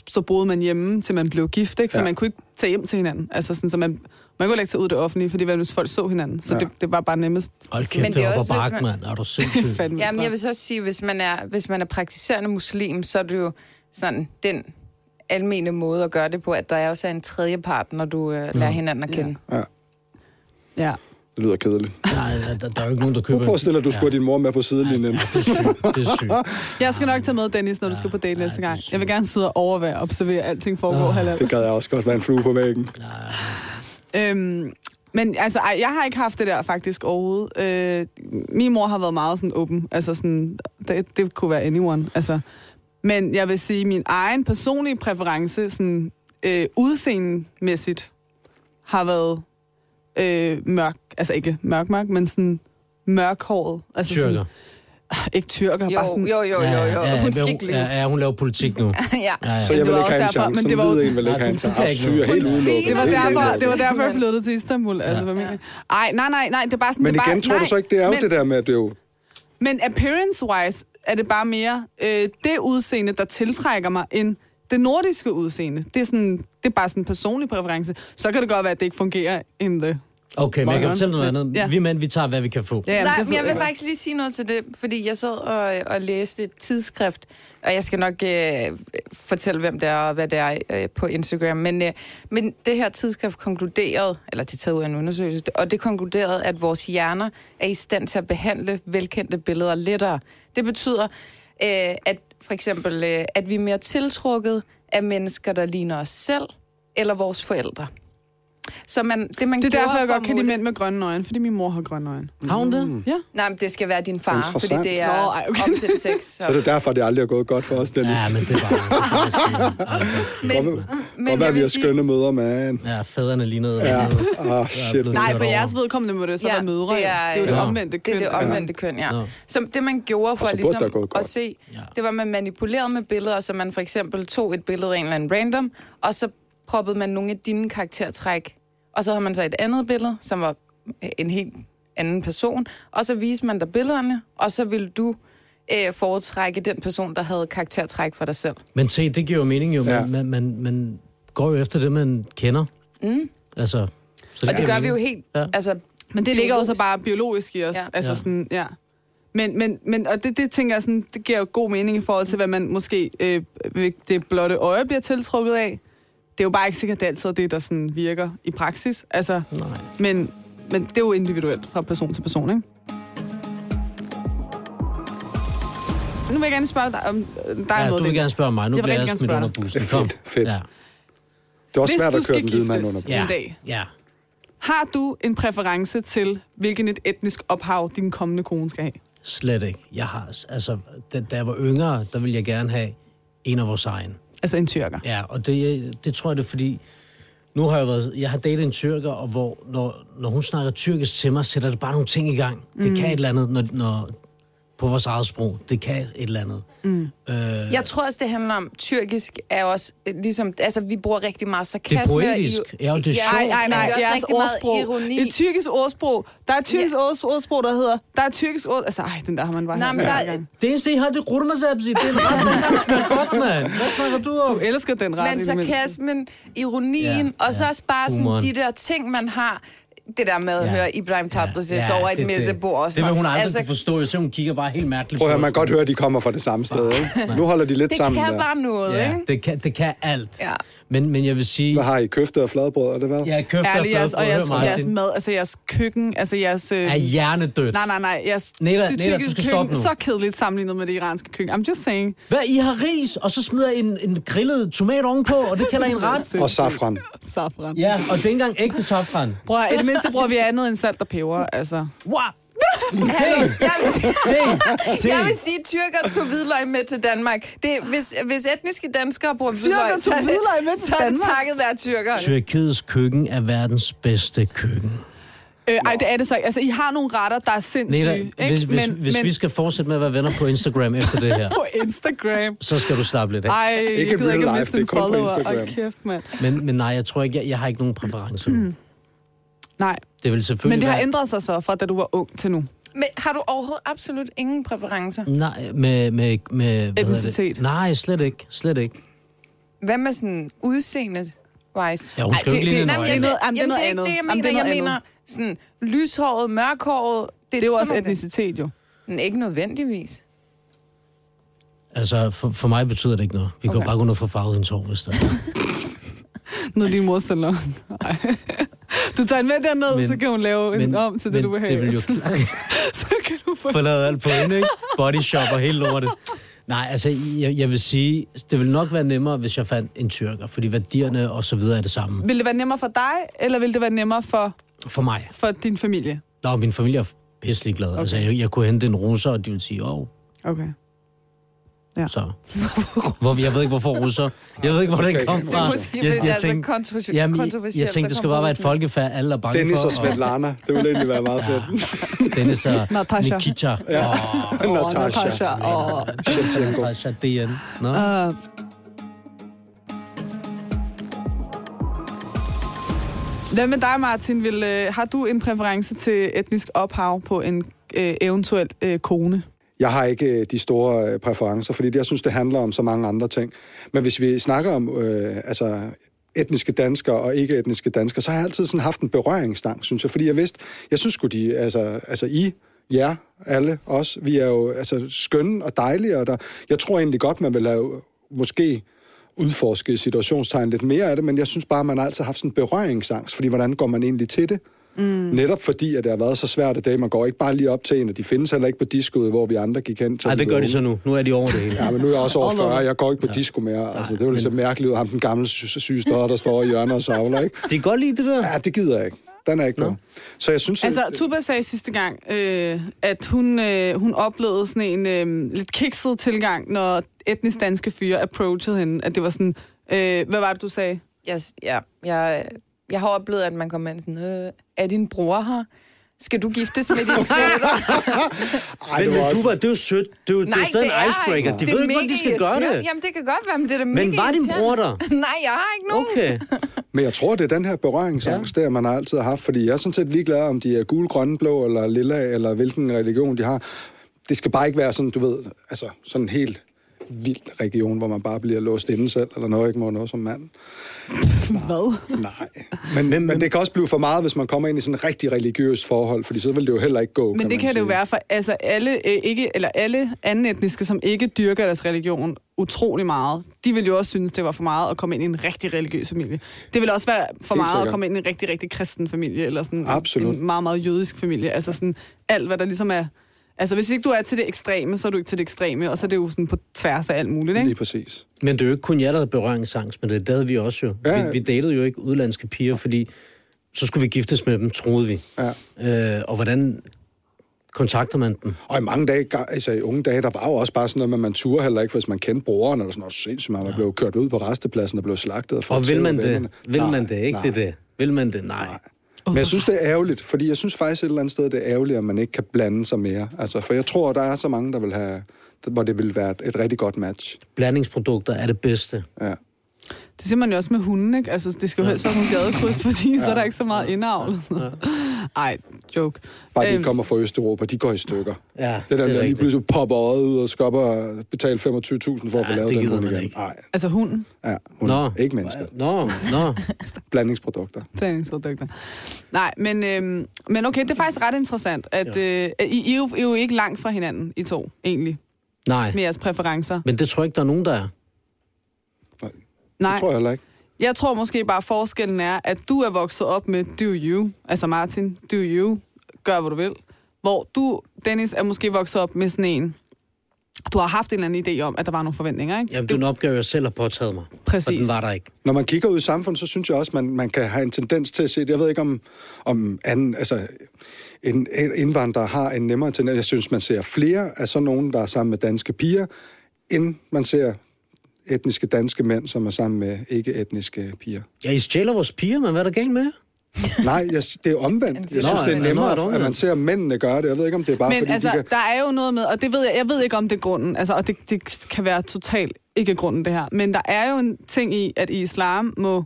så boede man hjemme, til man blev gift, ikke? så
Ja.
ja. man kunne ikke tage hjem til hinanden. Altså sådan, så man, man kunne heller ikke tage ud i det offentlige, fordi hvad hvis folk så hinanden? Så
Ja.
ja. det, det, var bare nemmest.
Hold
Altså,
kæft,
Men
det,
det er
det er
også,
også,
hvis
bakke,
man-
mand. Er du sindssyg?
fandme
Jamen,
stramt.
jeg vil så også sige, hvis man er, hvis man er praktiserende muslim, så er det jo sådan den almene måde at gøre det på, at der også er en tredje part, når du øh, lærer hinanden at kende.
Ja.
Det lyder kedeligt.
Nej, der, der, der er jo ikke nogen, der køber...
Nu forestiller du
en-
sgu ja. din mor med på sidelinjen.
Det er sygt. Det er sygt.
Jeg skal nok tage med Dennis, når du skal på date
ja,
næste
det er
gang.
sygt.
Jeg vil gerne sidde og overvære og observere, at alting foregår oh. halal.
Det gad jeg også godt være en flue på væggen.
Øhm, men altså, ej, jeg har ikke haft det der faktisk overhovedet. Øh, min mor har været meget sådan åben. Altså sådan, det, det kunne være anyone. Altså, men jeg vil sige, min egen personlige præference, sådan øh, udseendemæssigt, har været øh, mørk. Altså ikke mørk, mørk, men sådan mørkhåret. Altså
Tyrker.
Sådan, ikke tyrker,
Jo,
bare sådan...
jo, jo, jo, jo.
ja,
Hun
men
skal ikke lyve.
ja, ja, hun laver politik nu.
Ja.
Så jeg
det
vil
var
ikke
også
have en
derfor,
chance.
men
Sådan
det var
lyder
jo-
en vil ikke
Nej,
have en
du
chance.
kan
Ah,
ikke
syg
noget.
er helt
Hun
udelukket.
Det var
er helt
derfor,
udelukket.
det var derfor jeg flyttede til Istanbul. Altså, ja, ja. Ej, nej, nej, nej, det er bare sådan...
Men
det er
igen,
bare,
tror du
nej,
så ikke, det er jo
men,
det der med, at det er jo...
Men appearance-wise er det bare mere øh, det udseende, der tiltrækker mig, end det nordiske udseende. Det er, sådan, det er bare sådan en personlig præference. Så kan det godt være, at det ikke fungerer in the...
Okay, men jeg kan
Meget
fortælle noget
godt.
andet.
Ja.
Vi mænd, vi tager, hvad vi kan få.
Ja,
Nej,
det
men jeg vil faktisk lige sige noget til det, fordi jeg sad og, og læste et tidsskrift, og jeg skal nok øh, fortælle, hvem det er og hvad det er øh, på Instagram, men, øh, men det her tidsskrift konkluderede, eller det taget ud af en undersøgelse, og det konkluderede, at vores hjerner er i stand til at behandle velkendte billeder lettere. Det betyder, øh, at for eksempel, øh, at vi er mere tiltrukket af mennesker, der ligner os selv, eller vores forældre. Så man, det, man
Det er
gjorde
derfor, jeg
for
godt
at
kan lide
måle-
mænd med grønne øjne, fordi min mor har grønne øjne.
Har hun
Mm.
det?
Ja.
Nej, men det skal være din far, fordi
Interessant.
det er
Nå, ej, okay.
op til sex.
Så er
Så.
det derfor, det aldrig er gået godt for os, Dennis.
Ja,
Ja,
men det er bare...
Men,
men, og hvad vi har skønne møder, man.
Ja, fædrene lignede... Ja.
Ah, shit.
blevet-
Nej,
godt
for
over.
jeres vedkommende må det så ja, være mødre. Det er, det er jo det
ja.
omvendte
det
køn.
er det omvendte køn, ja.
Nå.
Så det, man gjorde for
Og så
at
burde der
ligesom
gå godt.
at se,
Ja.
det var, at man manipulerede med billeder, så man for eksempel tog et billede af en eller anden random, og så proppede man nogle af dine karaktertræk, og så havde man så et andet billede, som var en helt anden person, og så viste man dig billederne, og så ville du øh, foretrække den person, der havde karaktertræk for dig selv.
Men se, det giver jo mening jo. Man,
Ja.
ja. man, man, man går jo efter det, man kender. Mm. Altså, så
Og det
giver
gør vi jo
mening.
helt,
Ja.
altså
Men det ligger jo så
Biologisk.
bare biologisk i os.
Ja.
Ja. Altså
Ja.
ja. sådan, ja. Men, men, men og det, det tænker jeg sådan, det giver jo god mening i forhold til, hvad man måske øh, ved det blotte øje bliver tiltrukket af. Det er jo bare ikke sikkert, at det altid er det, der sådan virker i praksis. Altså,
Nej.
men, men det er jo individuelt fra person til person, ikke? Nu vil jeg gerne spørge dig om øh, dig
Ja,
om noget,
du vil
Dennis.
gerne spørge mig. Nu
Jeg vil rigtig
bliver jeg
gerne
smidt
spørge
under
dig.
bussen.
Det er
Kom.
fedt, fedt.
Ja.
Det er også
Hvis
svært
du
at køre
skal
den hvide mand
giftes.
under.
Ja.
En dag.
Ja.
Har du en præference til, hvilken et etnisk ophav din kommende kone skal have?
Slet ikke. Jeg har, altså, da, da jeg var yngre, der ville jeg gerne have en af vores egen.
Altså en tyrker.
Ja, og det, det tror jeg, det er fordi... Nu har jeg været... Jeg har datet en tyrker, og hvor, når, når hun snakker tyrkisk til mig, sætter det bare nogle ting i gang. Det
Mm.
kan et eller andet, når, når, på vores eget sprog. Det kan et eller andet.
Mm. Jeg tror også, det handler om, tyrkisk er også øh, ligesom, altså vi bruger rigtig meget
Det er
sarkasme. og
poetisk.
i-
Ja, og det er
Ja,
Nej,
sjovt.
nej,
Men det
nej.
er også
Jeres
rigtig meget
ordsprog.
ironi.
Et tyrkisk ordsprog. Der er et tyrkisk
Ja.
yeah. ordsprog, der hedder... Der er et tyrkisk ordsprog... Altså, ej, den der har man bare...
Nej,
hørt
men
mange
der,
gange.
Det eneste, I har, det er kurmazabzi. Det er bare den, der smager godt, mand. Hvad snakker du om?
Du elsker den ret, i
men
det mindste.
sarkasmen, ironien,
Ja,
ja, og så
ja.
også bare sådan
Humoren.
de der ting, man har. Det der med at
Ja.
høre Ibrahim Tatras ja, over et
det- det-
messebord. og sådan
Det vil hun
noget.
aldrig altså, forstå. Jeg ser, hun kigger bare helt mærkeligt
Prøv at høre,
os.
man kan godt høre, at de kommer fra det samme sted. Ikke? Nu holder de lidt
Det
sammen
kan
der.
bare noget,
Ja,
ikke?
det kan, det kan alt.
Ja.
Men, men jeg vil sige...
Hvad har I? Køfte og fladbrød, er det hvad?
Jeg er køfter
Ærligt, jeres, og jeres,
Martin.
jeres mad, altså jeres køkken, altså jeres... Øh,
Er hjernedødt.
Nej, nej, nej. Jeres,
Neda,
det
Neda, du
tyrkiske
skal stoppe
køkken,
nu.
så kedeligt sammenlignet med det iranske køkken. I'm just saying.
Hvad, I har ris, og så smider I en, en grillet tomat ovenpå, og det kalder I en ret?
Og safran.
Safran.
Ja, og det er ikke engang ægte safran.
Prøv at, i det mindste bruger vi andet end salt og peber, altså.
Wow!
Hallo, jeg vil,
Se, se.
jeg vil sige, at tyrker tog hvidløg med til Danmark. Det, hvis, hvis etniske danskere bruger
Tyrker
hvidløg, så
tog
er det,
hvidløg med til
så er det
Danmark?
takket være tyrker.
Tyrkiets køkken er verdens bedste køkken.
Øh, ej, det er det så ikke. Altså, I har nogle retter, der er sindssyge.
Neda,
ikke?
hvis, hvis, men, hvis men... vi skal fortsætte med at være venner på Instagram efter det her,
På Instagram.
så skal du slappe lidt af.
Ej,
Ikke
ikke jeg gider
real
ikke at
life,
miste
det
en
er kun på
follower. Og
Instagram.
kæft, mand.
Men, men nej, jeg tror ikke, jeg, jeg har ikke nogen præferencer.
Nej,
Det vil
men
selvfølgelig
det har
være...
ændret sig så fra, da du var ung til nu.
Men har du overhovedet absolut ingen præferencer?
Nej, med... med, med hvad hedder det?
Etnicitet.
Nej, slet ikke. Slet ikke.
Hvad med sådan udseendet wise?
Ja, hun skal jo ikke lide
det,
en
nej, men
øje.
det er noget, jamen,
Jamen,
det er noget
det er ikke
andet. Jamen, det
det, jeg mener.
er
jeg
noget
mener
andet.
sådan lyshåret, mørkhåret.
Det er jo
sådan
også
nogle-
etnicitet, jo.
Men Ikke nødvendigvis.
Altså, for, for mig betyder det ikke noget. Vi okay. kan
Okay.
jo bare gå ned for farvet hendes hår, hvis der er.
Ned i din mors salon. Ej. Du tager en med derned, men,
Men-
så kan hun lave en om til det,
men
du vil have.
det vil jo
så kan du få...
forlade alt på hende, ikke? Bodyshop og hele lortet. Nej, altså, jeg, jeg vil sige, det vil nok være nemmere, hvis jeg fandt en tyrker, fordi værdierne og så videre er det samme
Vil det være nemmere for dig, eller vil det være nemmere for,
for mig.
for din familie?
Nå, min familie er pisselig glad. Okay. Altså, jeg, jeg kunne hente en russer, og de ville sige, åh, oh,
Okay.
så. Hvor, jeg ved ikke, hvorfor russer. Jeg ved ikke, hvor den kom
Det er
fra.
måske, fordi det altså er så kontroversielt-
jamen, jeg,
kontroversielt,
jeg tænkte,
der
det skal
kommer
bare være et
russerne.
folkefærd, alle er bange
Dennis
for.
og Svetlana, det ville egentlig være meget fedt.
Ja, Dennis og
Natasha.
Nikita. Ja. Oh,
Ja.
Åh,
Natasha.
Åh.
Shevchenko.
Natasha DN. Nå.
Øh, Hvad med dig, Martin? Vil, øh, har du en præference til etnisk ophav på en øh, eventuel øh, kone?
Jeg har ikke øh, de store øh, præferencer, fordi det- jeg synes, det handler om så mange andre ting. Men hvis vi snakker om øh, altså etniske danskere og ikke-etniske danskere, så har jeg altid sådan haft en berøringsstang, synes jeg. Fordi jeg vidste, jeg synes sgu de, altså, altså I, jer, alle, os, vi er jo altså, skønne og dejlige, og der, jeg tror egentlig godt, man vil have måske udforsket situationstegn lidt mere af det, men jeg synes bare, man har altid haft sådan en berøringsangst, fordi hvordan går man egentlig til det? Mm. Netop fordi, at det har været så svært i dag. Man går ikke bare lige op til en, og de findes heller ikke på diskoet, hvor vi andre gik hen. til
Ej,
vi
det gør
var
de
unge.
så nu. Nu er de over det hele.
Ja, men nu er jeg også over
All over.
40, jeg går ikke på ja. disco mere. Altså, det er jo lidt så mærkeligt ud, ham den gamle sy- syge stodder, der står i hjørnet og savler, ikke?
De kan godt lide det der.
Ja, det gider jeg ikke. Den er jeg ikke på. Så jeg synes...
Altså,
at-
Tuba sagde sidste gang, øh, at hun, øh, hun oplevede sådan en øh, lidt kikset tilgang, når etnisk danske fyre approachede hende. At det var sådan, øh, hvad var det, du sagde?
Jeg, ja, jeg, jeg har oplevet, at man kommer ind sådan, øh, er din bror her? Skal du giftes med din fætter?
Ej,
Men
det var også...
du var, det er jo sødt. Det er jo, det er jo stadig en icebreaker. De
Det er
ved ikke, hvordan
mega
de skal gøre
irriterende.
det.
Jamen, det kan godt være, men det er da
Men
mega
var din
irriterende.
bror der?
Nej, jeg har ikke nogen.
Okay.
Men jeg tror, det er den her berøringsangst, ja. der man har altid har haft, fordi jeg er sådan set ligeglad, om de er gul, grønne, blå eller lilla, eller hvilken religion de har. Det skal bare ikke være sådan, du ved, altså sådan en helt vild region, hvor man bare bliver låst inde selv, eller noget, ikke må noget som mand.
Hvad?
Nej. Men, men, men, det kan også blive for meget, hvis man kommer ind i sådan et rigtig religiøst forhold, fordi så vil det jo heller ikke gå,
Men det
man
kan det jo
sige.
være for altså alle, øh, ikke, eller alle anden etniske, som ikke dyrker deres religion utrolig meget. De vil jo også synes, det var for meget at komme ind i en rigtig religiøs familie. Det vil også være for
Helt
meget at
sikkert.
komme ind i en rigtig, rigtig kristen familie, eller sådan
Absolut.
en meget, meget jødisk familie. Altså sådan alt, hvad der ligesom er... Altså hvis ikke du er til det ekstreme, så er du ikke til det ekstreme, og så er det jo sådan på tværs af alt muligt,
Lige
ikke?
præcis.
Men det er jo ikke kun jer, der havde berøringsangst, men det havde vi også jo.
Ja, ja.
Vi, vi datede jo ikke udlandske piger, fordi så skulle vi giftes med dem, troede vi.
Ja.
Øh, og hvordan kontakter man dem?
Og i mange dage, ga- altså i unge dage, der var jo også bare sådan noget, med, at man turde heller ikke, hvis man kendte broren, eller sådan noget sindssygt, man ja. blev kørt ud på restepladsen og blev slagtet. Og, folk
Og vil man
tævede vennerne.
det? Vil
Nej,
man det? Ikke
nej.
det er det? Vil man det? Nej.
Men jeg synes, det er ærgerligt, fordi jeg synes faktisk et eller andet sted, det er ærgerligt, at man ikke kan blande sig mere. Altså, for jeg tror, der er så mange, der vil have, hvor det vil være et rigtig godt match.
Blandingsprodukter er det bedste.
Ja.
Det ser man jo også med hunden, ikke? Altså det skal jo helst være nogle gadekryds, fordi så er der ikke så meget indavl. Ej, joke.
Bare de
Øhm.
øhm. kommer fra Østeuropa, de går i stykker.
Ja,
det
det
der med,
er
at lige
rigtigt.
pludselig popper øjet ud og skal op og betale 25.000 for at få
Ja,
lavet
det
den
gider
hund
man
igen.
ikke.
Nej,
Altså hunden.
ja, hun, ikke mennesket.
Nå, nå.
Blandingsprodukter.
Blandingsprodukter. Nej, men, øhm, men okay, det er faktisk ret interessant, at øh, I, I, er jo, I er jo ikke langt fra hinanden, I to, egentlig,
Nej.
med jeres præferencer.
Men det tror jeg ikke, der er nogen, der er.
Nej,
Nej,
det tror jeg heller ikke.
jeg tror måske bare forskellen er, at du er vokset op med do you, altså Martin, do you, gør hvad du vil, hvor du, Dennis, er måske vokset op med sådan en, du har haft en eller anden idé om, at der var nogle forventninger, ikke?
Jamen, det er en opgave, jeg selv har påtaget mig. Og
Præcis.
den var der ikke.
Når man kigger ud i samfundet, så synes jeg også, man, man kan have en tendens til at se, jeg ved ikke om, om anden, altså, en, en indvandrer har en nemmere tendens. Jeg synes, man ser flere af sådan nogen, der er sammen med danske piger, end man ser etniske danske mænd, som er sammen med ikke-etniske piger.
Ja, I stjæler vores piger, men hvad er der galt med jer?
Nej, jeg, det er omvendt. Jeg synes, det er
Nå, nå, er det
nemmere, at
omvendt?
man ser mændene gøre det. Jeg ved ikke, om det er bare
Men
fordi,
altså,
de kan...
der er jo noget med, og det ved jeg, jeg ved ikke om det er grunden, altså, og det, det kan være totalt ikke grunden det her, men der er jo en ting i, at i islam må,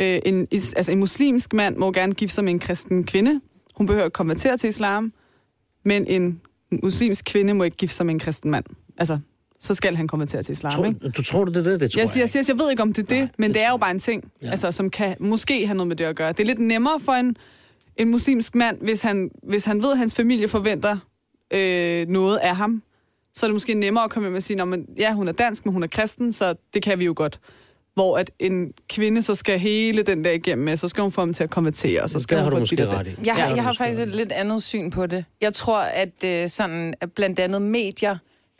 øh, en, is, altså en muslimsk mand må gerne gifte sig med en kristen kvinde. Hun behøver at konvertere til islam, men en muslimsk kvinde må ikke gifte sig med en kristen mand. Altså, så skal han konvertere til islam, ikke?
Tror, du tror, det er det? Det tror
Jeg siger, jeg, siger,
ikke.
jeg ved ikke, om det er det,
Nej,
Nej, men
det
det, er
tror
jo
jeg
bare en ting, ja. altså, som kan måske have noget med det at gøre. Det er lidt nemmere for en, en muslimsk mand, hvis han, hvis han ved, at hans familie forventer øh, noget af ham. Så er det måske nemmere at komme hjem og sige, "Nå, men, ja, hun er dansk, men hun er kristen, så det kan vi jo godt. Hvor at en kvinde så skal hele den der igennem med, så skal hun få ham til at konvertere, og så skal
Det har
hun
du
få dit
måske
og dat.
ret i.
Jeg,
Det har
har,
du
jeg har
måske
faktisk
ret i.
et lidt andet syn på det. Jeg tror, at øh, sådan, at blandt andet medier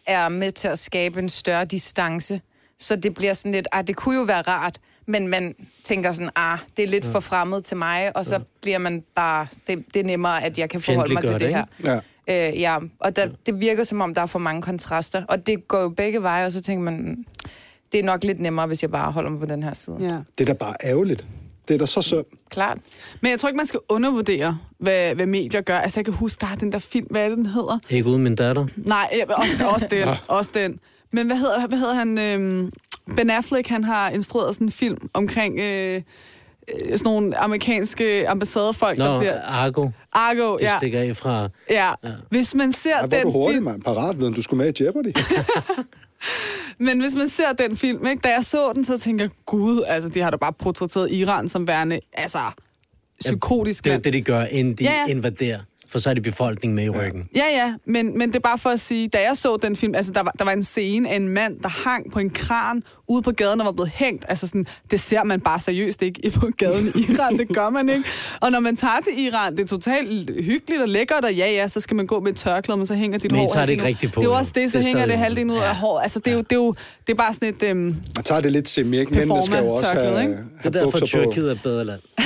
er med til at skabe en større distance. Så det bliver sådan lidt, ah, det kunne jo være rart, men man tænker sådan, ah, det er lidt for fremmed til mig, og så bliver man bare, det, det er nemmere, at jeg kan forholde mig til det,
Fjendtliggør
her.
det,
Ja.
Øh, ja, og der, det virker som om, der er for mange kontraster, og det går jo begge veje, og så tænker man, "Mm, det er nok lidt nemmere, hvis jeg bare holder mig på den her side. Ja.
Ja.
Det er da bare ærgerligt. Det er da så synd.
Klart.
Men jeg tror ikke, man skal undervurdere, hvad, hvad medier gør. Altså, jeg kan huske, der er den der film, hvad er det, den hedder?
Ikke uden min datter.
Nej, ja, men også, også den. også den. Men hvad hedder, hvad hedder han? Øhm, ben Affleck, han har instrueret sådan en film omkring øh, øh, sådan nogle amerikanske ambassadefolk,
Nå,
der bliver...
Argo, det
Argo, ja,
stikker af fra...
ja. Hvis man ser
Ja, hvor er du
den
hurtig,
film...
mand. Paratviden, du skulle med i Jeopardy.
Men hvis man ser den film, ikke, da jeg så den, så tænker jeg, gud, altså, de har da bare portrætteret Iran som værende, altså, psykotisk.
Det er jo
mand.
det, de gør, inden de
Ja, ja.
invaderer. For så er det befolkningen med i ryggen.
Ja, ja, men, men det er bare for at sige, da jeg så den film, altså der var, der var en scene af en mand, der hang på en kran ude på gaden og var blevet hængt. Altså sådan, det ser man bare seriøst ikke på gaden i Iran, det gør man ikke. Og når man tager til Iran, det er totalt hyggeligt og lækkert, og ja, ja, så skal man gå med et tørklæde, men så hænger dit
Men I
hår...
tager det
halvdelen
ikke
ud.
rigtigt på
Det er jo
nu.
også det, så det
Det er
hænger det
stadig-
halvdelen ud
Ja.
af hår. Altså det er jo, det er jo det er bare sådan et... Øhm,
Man tager det lidt semi, ikke? Mændene skal jo også have,
Performer-tørklæde, ikke?
have
Det er derfor,
bukser på.
Tyrkiet er et bedre land.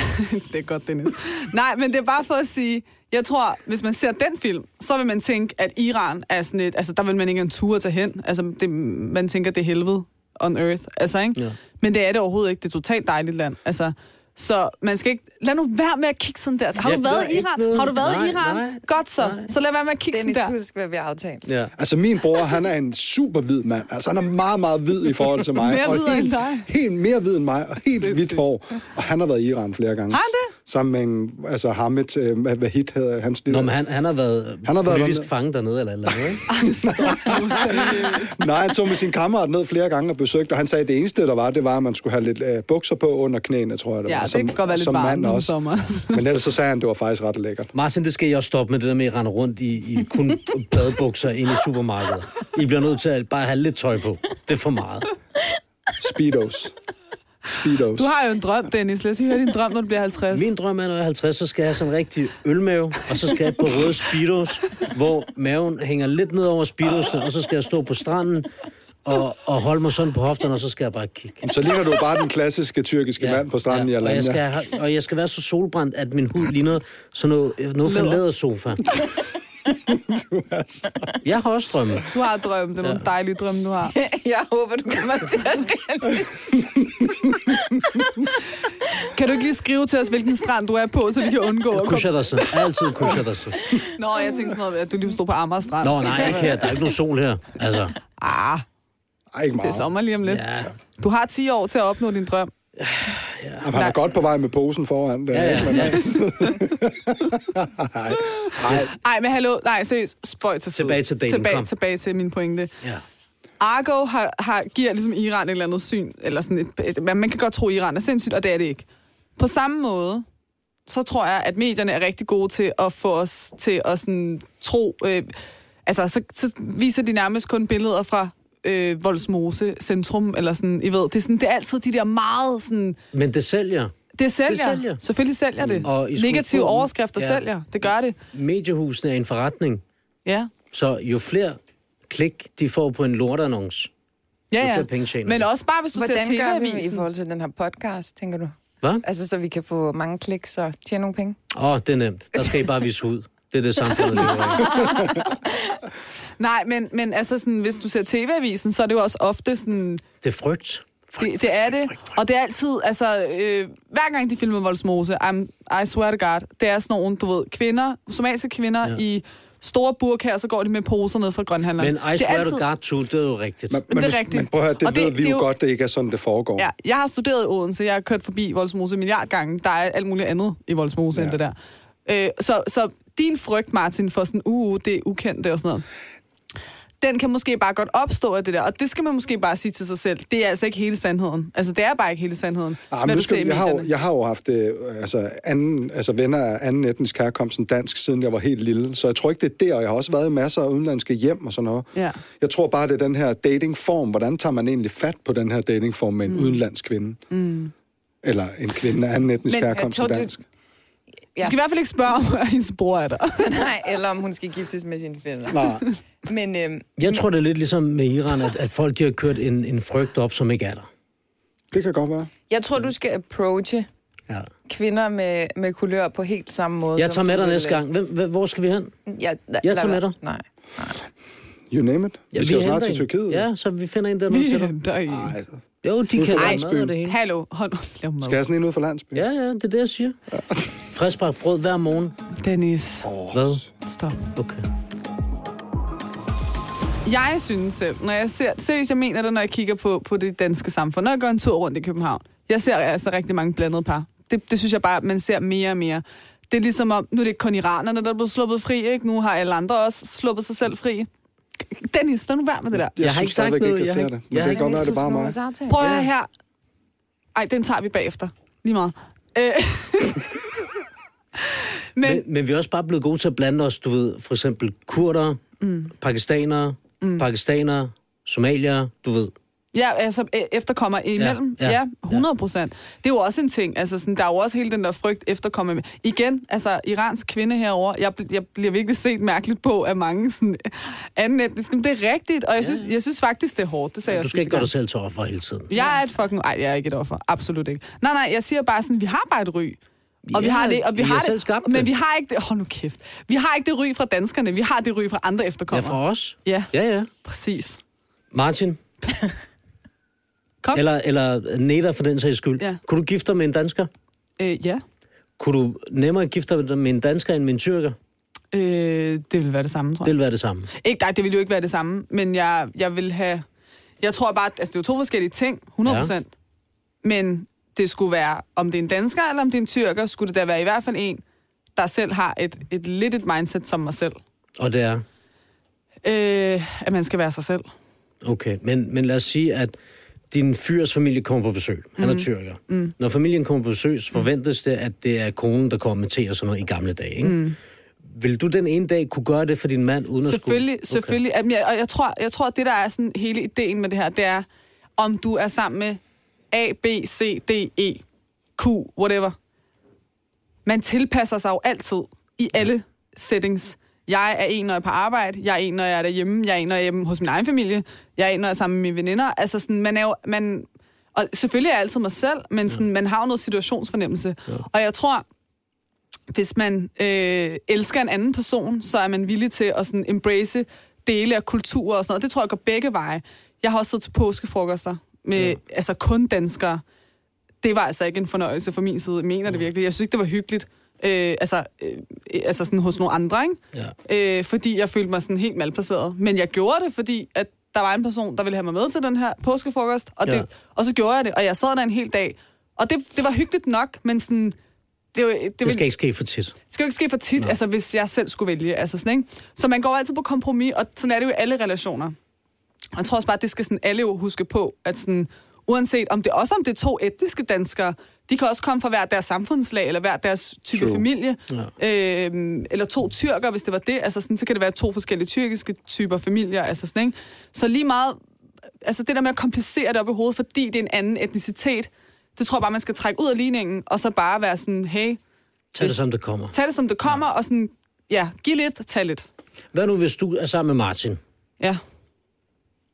det er godt, Dennis. Nej, men det er bare for at sige, jeg tror, hvis man ser den film, så vil man tænke, at Iran er sådan et... Altså, der vil man ikke en tur tage hen. Altså, det, man tænker, det er helvede on earth. Altså, ikke?
Ja.
Ja. Men det er det overhovedet ikke. Det er et totalt dejligt land. Altså, så man skal ikke... Lad nu være med at kigge sådan der. Har
Jeg
du været
gør
i
ikke
Iran?
noget.
Har du været
Nej,
i Iran?
nej,
Godt så. Så lad være med at kigge sådan
Dennis,
der.
husk, hvad vi har aftalt.
Ja.
Altså, min bror, han er en super hvid mand. Altså, han er meget, meget hvid i forhold til mig.
Mere
og
hvid end
helt,
dig.
Helt mere hvid end mig, og helt hvidt
Sindssygt.
hår. Og han har været i Iran flere gange.
Har han
det? Sammen med en, altså, Hamid, øh, hvad- hvad hit hedder hans lille...
Nå, men han, han har været
Han har
han har
været
politisk
dernede.
fanget dernede, eller et eller andet, ikke?
Ej, stop nu, seriøst.
Nej, han tog med sin kammerat ned flere gange og besøgte, og han sagde, at det eneste, der var, det var, at man skulle have lidt øh, bukser på under knæene, tror jeg, det
Ja,
var.
det kan godt være lidt
som
varmt
mand
om
også.
sommeren.
Men ellers så sagde han, at det var faktisk ret lækkert.
Martin, det skal I også stoppe med, det der med, at I render rundt i, i kun badebukser ind i supermarkedet. I bliver nødt til at bare have lidt tøj på. Det er for meget.
Speedos. Speedos.
Du har jo en drøm, Dennis. Lad os høre din drøm, når du bliver 50.
Min drøm er, når jeg er 50, så skal jeg have sådan en rigtig ølmave, og så skal jeg på røde speedos, hvor maven hænger lidt ned over speedosene, og så skal jeg stå på stranden og, og holde mig sådan på hofterne, og så skal jeg bare kigge.
Så ligner du bare den klassiske tyrkiske ja, mand på stranden ja, i
og, jeg
Alanya.
skal have, og jeg skal være så solbrændt, at min hud ligner sådan noget, noget fra en lædersofa. Jeg har også drømme.
Du har drømme. Det er nogle dejlige drømme, du har.
Jeg håber, du kommer til at Dennis.
Kan du ikke lige skrive til os, hvilken strand du er på, så vi kan undgå at komme...
Kusher dig så. Altid kusher dig så.
Nå, jeg tænkte sådan noget, med, at du lige stod på Amager Strand.
Nå, nej, ikke her. Der er ikke nogen sol her. Altså,
Ah,
Ej, ikke
det
meget.
er sommer lige om lidt.
Ja.
Du har 10 år til at opnå din drøm.
Jamen, han er
Nej.
godt på vej med posen foran. Der,
ja, ja. ja.
Nej, men hallo, nej, seriøst, spøj til side.
Tilbage til daten,
tilbage,
kom.
tilbage til min pointe.
ja.
Argo har, har, giver ligesom Iran et eller andet syn, eller sådan et, et, man man kan godt tro, at Iran er sindssygt, og det er det ikke. På samme måde, så tror jeg, at medierne er rigtig gode til at få os til at sådan, tro... Øh, altså, så, så viser de nærmest kun billeder fra øh, Voldsmose Centrum, eller sådan, I ved. Det er, sådan, det er altid de der meget sådan...
Men det sælger.
Det sælger.
sælger. Mm.
Selvfølgelig sælger det.
Og i
Negative
skuespillet-
overskrifter
Ja.
ja. sælger. Det gør det.
Mediehusene er en forretning,
Ja.
så jo flere klik, de får på en lortannonce. Det er
Ja,
flere penge
ja.
tjener
Men
de.
også bare, hvis du
Hvordan
ser
gør vi i
TV-avisen.
forhold til den her podcast, tænker du?
Hvad?
Altså, så vi kan få mange kliks og tjene nogle penge.
Åh, oh, det er nemt. Der skal I bare vise hud. Det er det samfundet lever af.
Nej, men, men altså, sådan, hvis du ser TV-avisen, så er det jo også ofte sådan...
Det er frygt.
Det, det er det. Og det er altid, altså, øh, hver gang de filmer Voldsmose, I'm, I swear to God, det er sådan nogle, du ved, kvinder, somaliske kvinder ja.
Ja.
i store burkaer, og så går de med poser ned fra grønhandleren.
Men
det
I
er
swear
altid-
to God, too, det er jo rigtigt.
Men,
Men det er
hvis-
rigtigt.
Men prøv at høre, det,
Og
det ved
det-
vi
det er
jo,
jo-
godt, det ikke er sådan, det foregår.
Ja, jeg har studeret i Odense, jeg har kørt forbi Voldsmose en milliard gange. Der er alt muligt andet i Voldsmose ja. end
Ja.
det der. Øh, så, så din frygt, Martin, for sådan, uh, uh, det er ukendt og sådan noget, den kan måske bare godt opstå af det der, og det skal man måske bare sige til sig selv. Det er altså ikke hele sandheden. Altså, det er bare ikke hele sandheden,
Ah,
hvad
men
du
nu
ser i
skal, jeg, har jo,
medierne.
jeg har jo haft øh, altså, anden, altså, venner af anden etnisk herkomst end dansk, siden jeg var helt lille. Så jeg tror ikke, det er der, og jeg har også været i masser af udenlandske hjem og sådan noget.
Ja.
Jeg tror bare, det er den her datingform. Hvordan tager man egentlig fat på den her datingform med en mm. udenlandsk kvinde? Mm. Eller en kvinde af anden etnisk
Men
men, øh,
jeg
herkomst
tror,
end
det-
dansk?
Du skal i hvert fald ikke spørge, om at hendes bror er der.
Nej, eller om hun skal giftes med sine fætter.
Nej.
Men øhm,
Jeg tror, det er lidt ligesom med Iran, at, at folk de har kørt en, en frygt op, som ikke er der.
Det kan godt være.
jeg tror, du skal approache
Ja.
kvinder med, med kulør på helt samme måde.
Jeg
som
tager med
du
dig
vil.
næste gang. Hvem, hvem, hvor skal vi hen?
Jeg, la-
Jeg
lad
tager med
være.
dig.
Nej.
You name it. Ja, vi skal jo snart
henter
til
en.
Tyrkiet.
Ja, så vi finder en der nu
Vi
til dig.
henter en.
Ej, altså.
Jo, de
for
kan være med
landsbyen.
og det hele.
Hallo, hold nu, lav mad.
Skal jeg sådan en ud for landsbyen?
Ja, ja, det er det, jeg siger. Friskbagt brød hver morgen.
Dennis,
Hvad?
stop.
Okay.
Jeg synes selv, når jeg ser, seriøst, jeg mener det, når jeg kigger på, på det danske samfund, når jeg går en tur rundt i København, jeg ser altså rigtig mange blandede par. Det, det synes jeg bare, man ser mere og mere. Det er ligesom om, nu er det ikke kun iranerne, der er blevet sluppet fri, ikke? Nu har alle andre også sluppet sig selv fri. Dennis, lad nu være med det der.
Jeg,
har
synes
ikke sagt
stadigvæk
noget.
ikke, jeg,
Jeg
ser
har
det.
ikke-
Men
jeg
det
har
kan godt være, det er bare mig.
Prøv at høre her. Ej, den tager vi bagefter. Lige meget. Øh. Men,
Men, men vi er også bare blevet gode til at blande os, du ved, for eksempel kurder, mm. pakistanere, mm. pakistanere, somalier, du ved.
Ja, altså e- efterkommer imellem. Ja,
ja,
ja, 100 procent. Det er jo også en ting. Altså, sådan, der er jo også hele den der frygt efterkommer. imellem. Igen, altså iransk kvinde herover. Jeg, bl- jeg bliver virkelig set mærkeligt på af mange sådan, anden etnisk. Men det er rigtigt, og jeg, synes, jeg synes faktisk, det er hårdt. Det sagde jeg
Du
også
skal ikke
sidste
gøre
gang.
dig selv til offer hele tiden.
Jeg er et fucking... Ej, jeg er ikke et offer. Absolut ikke. Nej, nej, jeg siger bare sådan, vi har bare et ry. Og vi
Ja,
har det, og vi
I
har
har
det,
selv skabt
men
det.
vi har ikke det. Hold nu kæft. Vi har ikke det ry fra danskerne. Vi har det ry fra andre
Ja,
efterkommere.
fra os.
Ja.
Ja, ja.
Præcis.
Martin.
Kom.
Eller, eller Neda for den sags skyld.
Ja.
Kunne du gifte dig med en dansker?
Øh, ja.
Kunne du nemmere gifte dig med en dansker end med en tyrker?
Øh, det vil være det samme, tror jeg.
Det ville være det samme.
Ikke, nej, det ville jo ikke være det samme, men jeg, jeg vil have... Jeg tror bare, altså det er jo to forskellige ting, 100 procent. Ja. Men det skulle være, om det er en dansker eller om det er en tyrker, skulle det da være i hvert fald en, der selv har et, et lidt et mindset som mig selv.
Og det er...
Øh, at man skal være sig selv.
Okay, men, men lad os sige, at din fyrs familie kommer på besøg. Han er tyrker. Mm. Når familien kommer på besøg, så forventes det, at det er konen, der kommer til og sådan noget i gamle dage. Ikke? Mm. Vil du den ene dag kunne gøre det for din mand, uden
Selvfølgelig,
at skulle...
selvfølgelig. Jamen, jeg, og jeg tror, jeg tror, det der er sådan hele ideen med det her, det er, om du er sammen med A, B, C, D, E, Q, whatever. Man tilpasser sig jo altid i alle settings. Jeg er en, når jeg er på arbejde. Jeg er en, når jeg er derhjemme. Jeg er en, når jeg er hjemme hos min egen familie. Jeg er en, når jeg er sammen med mine veninder. Altså sådan, man er jo... Man, og selvfølgelig er jeg altid mig selv, men sådan, man har jo noget situationsfornemmelse. Ja. Og jeg tror, hvis man øh, elsker en anden person, så er man villig til at sådan embrace dele af kultur og sådan noget. Det tror jeg går begge veje. Jeg har også siddet til påskefrokoster med ja. altså kun danskere. Det var altså ikke en fornøjelse fra min side, jeg mener det virkelig. Jeg synes ikke, det var hyggeligt. Øh, altså, øh, altså sådan hos nogle andre, ikke? Ja. Øh, fordi jeg følte mig sådan helt malplaceret. Men jeg gjorde det, fordi at der var en person, der ville have mig med til den her påskefrokost, og, det,
Ja.
og så gjorde jeg det, og jeg sad der en hel dag. Og det, det var hyggeligt nok, men sådan... Det, var- det,
Det
var-
skal ikke ske for tit.
det skal jo ikke ske for tit, altså, hvis jeg selv skulle vælge. Altså, sådan, ikke? Så man går altid på kompromis, og sådan er det jo i alle relationer. Og jeg tror også bare, at det skal sådan alle jo huske på, at sådan, uanset om det også om det er to etniske danskere, de kan også komme fra hver deres samfundslag, eller hver deres type True. familie, ja. øhm, eller to tyrker, hvis det var det. Altså, sådan, så kan det være to forskellige tyrkiske typer familier. Altså, sådan, ikke? Så lige meget, altså det der med at komplicere det op i hovedet, fordi det er en anden etnicitet, det tror jeg bare, man skal trække ud af ligningen, og så bare være sådan, hey,
Tag det,
Hvis-
som det kommer.
Tag det, som det kommer, og sådan, ja, giv lidt, tag lidt.
Hvad nu, hvis du er sammen med Martin,
Ja,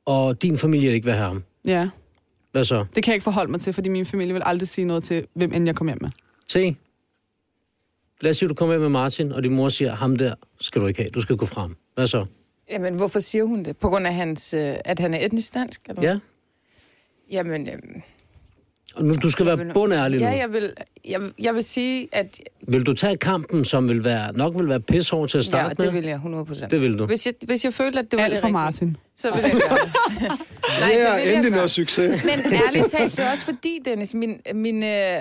og din familie ikke vil have ham?
ja.
Hvad så?
Det kan jeg ikke forholde mig til, fordi min familie vil aldrig sige noget til, hvem end jeg kommer hjem med.
Se. Lad os sige, du kommer hjem med Martin, og din mor siger, ham der skal du ikke have, du skal gå frem. Hvad så?
Jamen, hvorfor siger hun det? På grund af, hans, øh, at han er etnisk dansk? Eller? hvad?
Ja?
Jamen, øhm,
Og nu, du skal være bundærlig nu.
ja, jeg vil, jeg, jeg vil sige, at
Vil du tage kampen, som vil være, nok vil være pishård til at
ja,
starte
det
med?
vil jeg 100%.
Det vil du.
Hvis jeg, hvis jeg følte, at det var
Alt
det
for
rigtige,
Martin.
så vil jeg gøre det. Nej,
Det er
vil jeg
endelig
gøre.
noget succes.
Men ærligt talt, det er også fordi, Dennis, min, min, øh,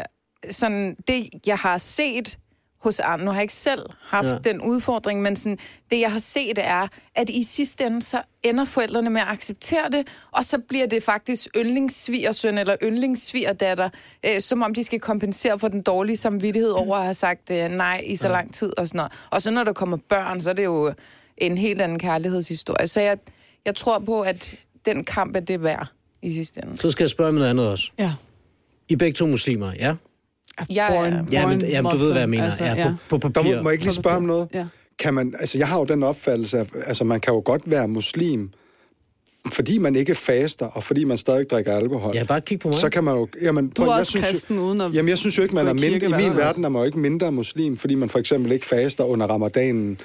sådan, det jeg har set hos andre, nu har jeg ikke selv haft
Ja.
ja. den udfordring, men sådan, det jeg har set er, at i sidste ende, så ender forældrene med at acceptere det, og så bliver det faktisk yndlingssvigersøn eller yndlingssvigerdatter, øh, som om de skal kompensere for den dårlige samvittighed over at have sagt øh, nej i så lang tid og sådan noget. Og så når der kommer børn, så er det jo en helt anden kærlighedshistorie. Så jeg, jeg tror på, at den kamp er det værd i sidste ende.
Så skal jeg spørge om noget andet også.
Ja.
I er begge to muslimer, ja?
Jeg er-
Born-
Ja, men,
born
jamen, du ved, hvad
Muslim,
jeg mener.
altså,
ja, på, på
Der
papir.
må, må jeg ikke lige spørge om noget?
Ja.
Kan man, altså jeg har jo den opfattelse, at altså man kan jo godt være muslim, fordi man ikke faster, og fordi man stadig drikker alkohol.
Ja, bare kig på mig.
så kan man jo... Jamen,
Du
prøv,
er
jeg
også
synes jo-
kristen uden at
Jamen, jeg synes jo ikke, man
gå
er
i
mindre... I
kirke,
min
hvad?
verden er man jo ikke mindre muslim, fordi man for eksempel ikke faster under ramadanen,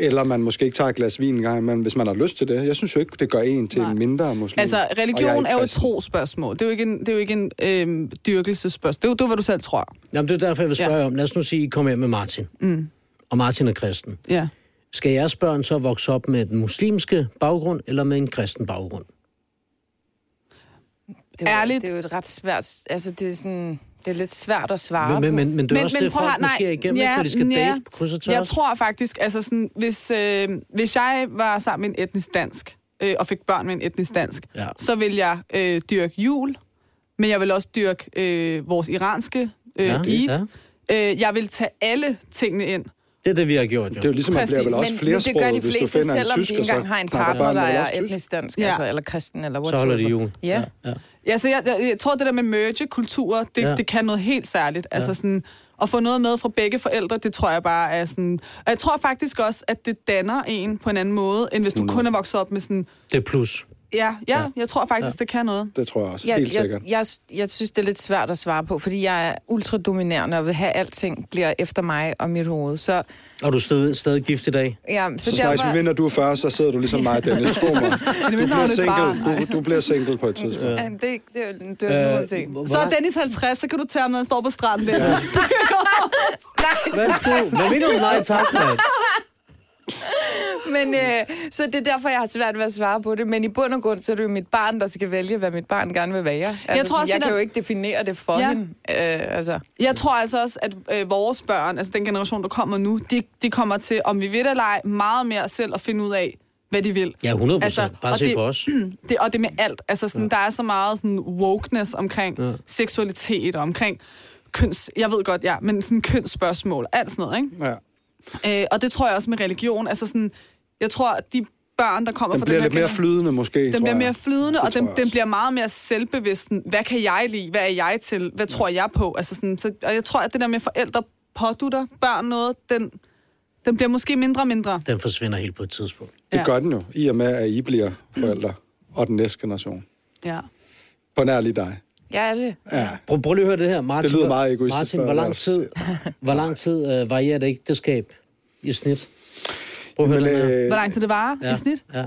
eller man måske ikke tager et glas vin engang, men hvis man har lyst til det. Jeg synes jo ikke, det gør en til
Nej.
en mindre muslim.
Altså,
Og jeg
religion er,
ikke
er jo et
kristen.
trospørgsmål. Det er jo ikke en, det er jo ikke en øhm, dyrkelsespørgsmål. Det er jo det, er, hvad du selv tror.
Jamen, det er derfor, jeg vil spørge ja. om. Lad os nu sige, I kommer hjem med Martin. Mm. Og Martin er kristen.
Ja.
Skal jeres børn så vokse op med den muslimske baggrund, eller med en kristen baggrund?
Det er, jo-
Ærligt.
Det er jo et ret svært... Altså, det er, sådan, det er lidt svært at svare
Men, men,
på.
men, men det er men, også men, det,
prøv
folk
at
nej,
høre,
måske er igennem, ja, når de skal ja, date på kryds og tværs.
Jeg tror faktisk, altså sådan, hvis, øh, hvis jeg var sammen med en etnisk dansk, øh, og fik børn med en etnisk dansk,
Ja.
ja. så vil jeg øh, dyrke jul, men jeg vil også dyrke øh, vores iranske øh,
Ja,
ja,
ja.
Eid. Ja. Øh, jeg vil tage alle tingene ind.
Det er det, vi har gjort, jo.
Det er jo ligesom, man bliver
Præcis.
vel også
men, men det
flersproget,
gør de
hvis du
fleste,
finder en
selvom de
tysker,
ikke engang
så
har en
snakker
partner,
børnene
der
vel
er
også tysk.
etnisk dansk,
Ja.
altså, eller kristen, eller
så
whatever.
holder de jul.
Ja.
ja.
Ja, så jeg, jeg, jeg tror, det der med merge kulturer, det,
Ja.
ja. det kan noget helt særligt. Altså sådan, at få noget med fra begge forældre, det tror jeg bare er sådan... Og jeg tror faktisk også, at det danner en på en anden måde, end hvis du kun er vokset op med sådan...
Det er plus.
Ja, ja, ja. jeg tror faktisk, ja. det kan noget.
Det tror jeg også,
Jeg,
helt sikkert.
jeg, jeg, jeg synes, det er lidt svært at svare på, fordi jeg er ultradominerende og vil have, at alting bliver efter mig og mit hoved. Så,
Og du er stadig, stadig gift i dag?
ja, så,
Så snakkes vi
derfor,
ved, når du er 40, så sidder du ligesom mig, Dennis. Tro mig.
mindste har
Du bliver,
hun et
single,
barn.
du, du bliver single på et tidspunkt.
Ja, det, det, det, er jo- det er jo nu at se.
hvor-
Så er Dennis 50, så kan du tage ham, når han står på stranden. Der. Ja.
Værsgo. Hvad mener du? Nej, tak, mand.
Men, øh, så det er derfor, jeg har svært ved at svare på det. Men i bund og grund, så er det jo mit barn, der skal vælge, hvad mit barn gerne vil være. Altså, jeg,
tror også,
tror også, jeg
det
kan
der-
jo ikke definere det for ja.
Ja.
hende. Øh, altså.
Jeg tror altså også, at øh, vores børn, altså den generation, der kommer nu, de, de kommer til, om vi ved det eller ej, meget mere selv at finde ud af, hvad de vil.
Ja, 100 procent. Altså, Bare
og
se
det,
på os.
Det, og det med alt. Altså, sådan, ja. der er så meget sådan, wokeness omkring ja. seksualitet og omkring køns... Jeg ved godt, ja, men sådan kønsspørgsmål. Alt sådan noget,
Ja.
ikke? Øh, og det tror jeg også med religion. Altså sådan, jeg tror, at de børn, der kommer
Den
fra
bliver
den her
lidt mere
gener-
flydende, måske,
den
tror
bliver
jeg.
mere flydende,
Det
og den,
tror jeg
den
også.
bliver meget mere selvbevidst. sådan, Hvad kan jeg lide? Hvad er jeg til? Hvad tror jeg på? Altså sådan, så, og jeg tror, at det der med forældre pådutter børn noget, den, den bliver måske mindre og mindre.
Den forsvinder helt på et tidspunkt.
Det
Ja.
gør den jo, i og med, at I bliver forældre, og den næste generation.
Ja.
På nær lige dig.
Ja, er det.
Ja.
Prøv, prøv lige at høre det her, Martin.
Det lyder
Hvor-
meget egoistisk,
Martin,
for
hvor
at
lang
være-
tid, hvor lang tid øh, varierer det ægteskab i snit? Prøv at høre
Men
den her.
øh,
Hvor lang tid det varer
Ja,
i snit?
Ja.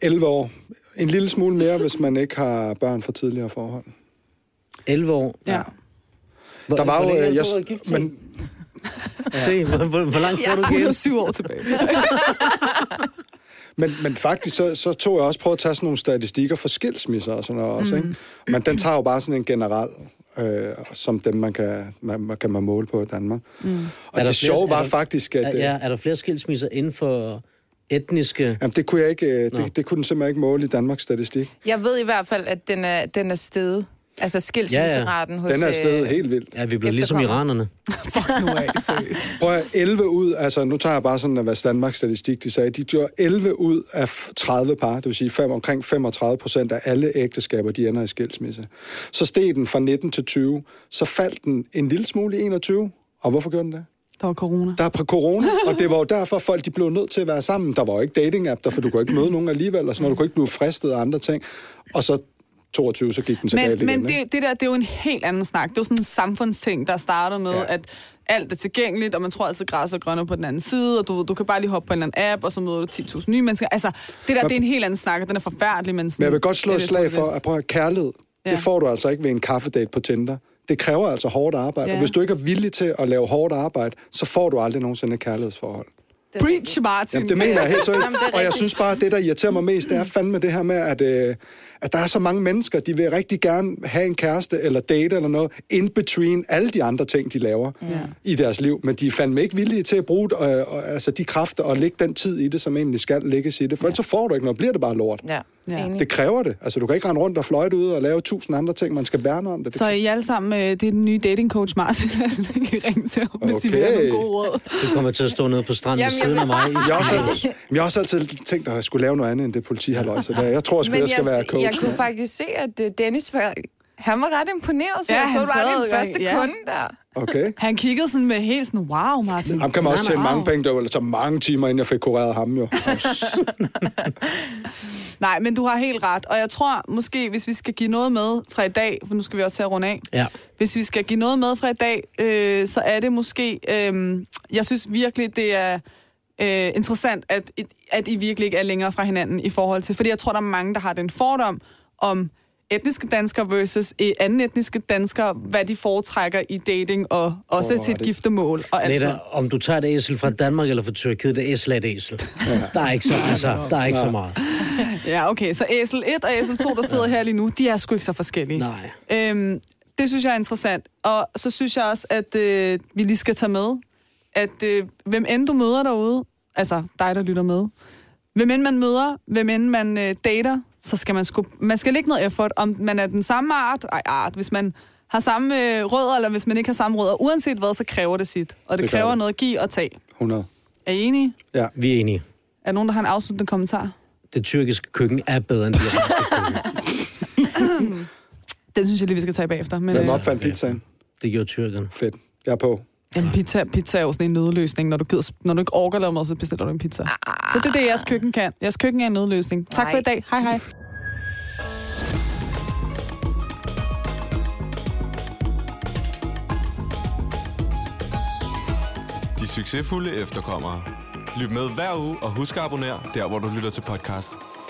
11 år. En lille smule mere, hvis man ikke har børn fra tidligere forhold.
11 år.
Ja.
Hvor,
Der var
hvor
jo...
længe
øh,
har
Jeg,
du været gift, men,
men
se, hvor, hvor, hvor lang tid har du
Hun er
givet?
syv år tilbage.
Men, men faktisk, så, så tog jeg også prøvet at tage sådan nogle statistikker for skilsmisser og sådan noget også, ikke?
Mm.
Men den tager jo bare sådan en general, øh, som dem, man kan, man, man kan man måle på i Danmark. Mm. Og det
der flere-
sjove
er
var
der-
faktisk, at...
Er,
øh,
ja, er der flere skilsmisser inden for etniske...
Jamen, det kunne jeg ikke, øh, det, det kunne den simpelthen ikke måle i Danmarks statistik.
Jeg ved i hvert fald, at den er, den er steget. Altså skilsmisseraten hos...
Den er stadig
øh,
helt vild.
Ja, vi blev ligesom
Efterkommere.
iranerne.
Fuck nu af, seriøst.
Prøv at høre, 11 ud, altså nu tager jeg bare sådan, hvad Danmarks statistik de sagde, de gjorde 11 ud af f- 30 par, det vil sige fem, omkring 35 procent af alle ægteskaber, de ender i skilsmisse. Så steg den fra 19 til 20, så faldt den en lille smule i 21, og hvorfor gjorde den det?
Der var corona.
Der er pre- corona, og det var jo derfor, folk de blev nødt til at være sammen. Der var jo ikke dating-app, der, for du kunne ikke møde nogen alligevel, og sådan noget. Du kunne ikke blive fristet af andre ting. Og så 22, så gik den så galt
Men,
igen.
men
ikke?
det, det der, det er jo en helt anden snak. Det er jo sådan en samfundsting, der starter med,
Ja.
ja. at alt er tilgængeligt, og man tror altid, græs er grønne på den anden side, og du, du kan bare lige hoppe på en eller anden app, og så møder du 10.000 nye mennesker. Altså, det der, det er en helt anden snak, og den er forfærdelig, men sådan...
Men jeg vil godt slå
det er
et
det,
slag
som det
for,
er.
at prøve at kærlighed, Ja. Det får du altså ikke ved en kaffedate på Tinder. Det kræver altså hårdt arbejde.
Ja.
Ja. Og hvis du ikke er villig til at lave hårdt arbejde, så får du aldrig nogensinde et kærlighedsforhold.
Preach, Martin.
Jamen, det mener jeg helt seriøst.
Jamen, det er
Og jeg
rigtigt.
synes bare, at det, der irriterer mig mest, det er fandme det her med, at, øh, at der er så mange mennesker, de vil rigtig gerne have en kæreste eller date eller noget, in between alle de andre ting, de laver ja. i deres liv. Men de er fandme ikke villige til at bruge øh, og, altså, de kræfter og lægge den tid i det, som egentlig skal lægges i det. For ja. ellers så får du ikke noget, bliver det bare lort.
Ja,
Ja.
ja. enig.
Det kræver det. Altså, du kan ikke rende rundt og fløjte ud og lave tusind andre ting. Man skal værne om det.
Så I alle sammen, øh, det er den nye dating coach Martin, der kan ringe til ham, hvis I vil have
Okay.
nogle gode råd.
Du kommer til at stå nede på stranden ved
Jamen, jeg-
siden af mig. I
jeg har, også altid, jeg har også altid tænkt, at jeg skulle lave noget andet end det politihalløj, så der, jeg tror sgu, jeg skal være coach.
jeg kunne faktisk se, at øh, Dennis var... Han var ret imponeret, så
Ja,
ja, jeg
han
troede, du var den
sad jo-
første
ja.
ja. kunde der.
Okay.
Han kiggede sådan med helt sådan, wow, Martin.
Ham kan man også tjene mange penge, der var så mange timer, inden jeg fik kureret ham jo.
Nej, men du har helt ret. Og jeg tror måske, hvis vi skal give noget med fra i dag, for nu skal vi også til at runde af.
Ja.
Hvis vi skal give noget med fra i dag, øh, så er det måske... Øh, jeg synes virkelig, det er øh, interessant, at, at I virkelig ikke er længere fra hinanden i forhold til... Fordi jeg tror, der er mange, der har den fordom om etniske danskere versus øh, anden etniske danskere, hvad de foretrækker i dating og også til et
det.
giftermål og alt sådan
Netta,
noget.
om du tager et æsel fra Danmark eller fra Tyrkiet, det er æsel er et æsel. Der er ikke så, altså, der er ikke så meget.
Ja, okay. Så æsel 1 og æsel 2, der sidder her lige nu, de er sgu ikke så forskellige.
Nej.
Øhm, det synes jeg er interessant. Og så synes jeg også, at øh, vi lige skal tage med, at øh, hvem end du møder derude, altså dig, der lytter med, hvem end man møder, hvem end man øh, dater, så skal man sgu, man skal lægge noget effort, om man er den samme art, ej, art, hvis man har samme øh, rødder, eller hvis man ikke har samme rødder, uanset hvad, så kræver det sit. Og det, det
Det gør
kræver
det.
noget at give og tage.
100.
Er I enige?
Ja.
Vi er enige.
Er der nogen, der har en afsluttende kommentar?
Det tyrkiske køkken er bedre end det iranske køkken.
Den synes jeg lige, vi skal tage bagefter. Men, øh,
Hvem opfandt pizzaen?
Det gjorde tyrkerne.
Fedt. Jeg er på.
Jamen, pizza, pizza er jo sådan en nødløsning. Når du, gider, når du ikke orker at lave mad, så bestiller du en pizza. Så det er det, jeres køkken kan. Jeres køkken er en nødløsning. Tak for
Nej.
i dag. Hej hej.
De succesfulde efterkommere. Lyt med hver uge og husk at abonnere der, hvor du lytter til podcast.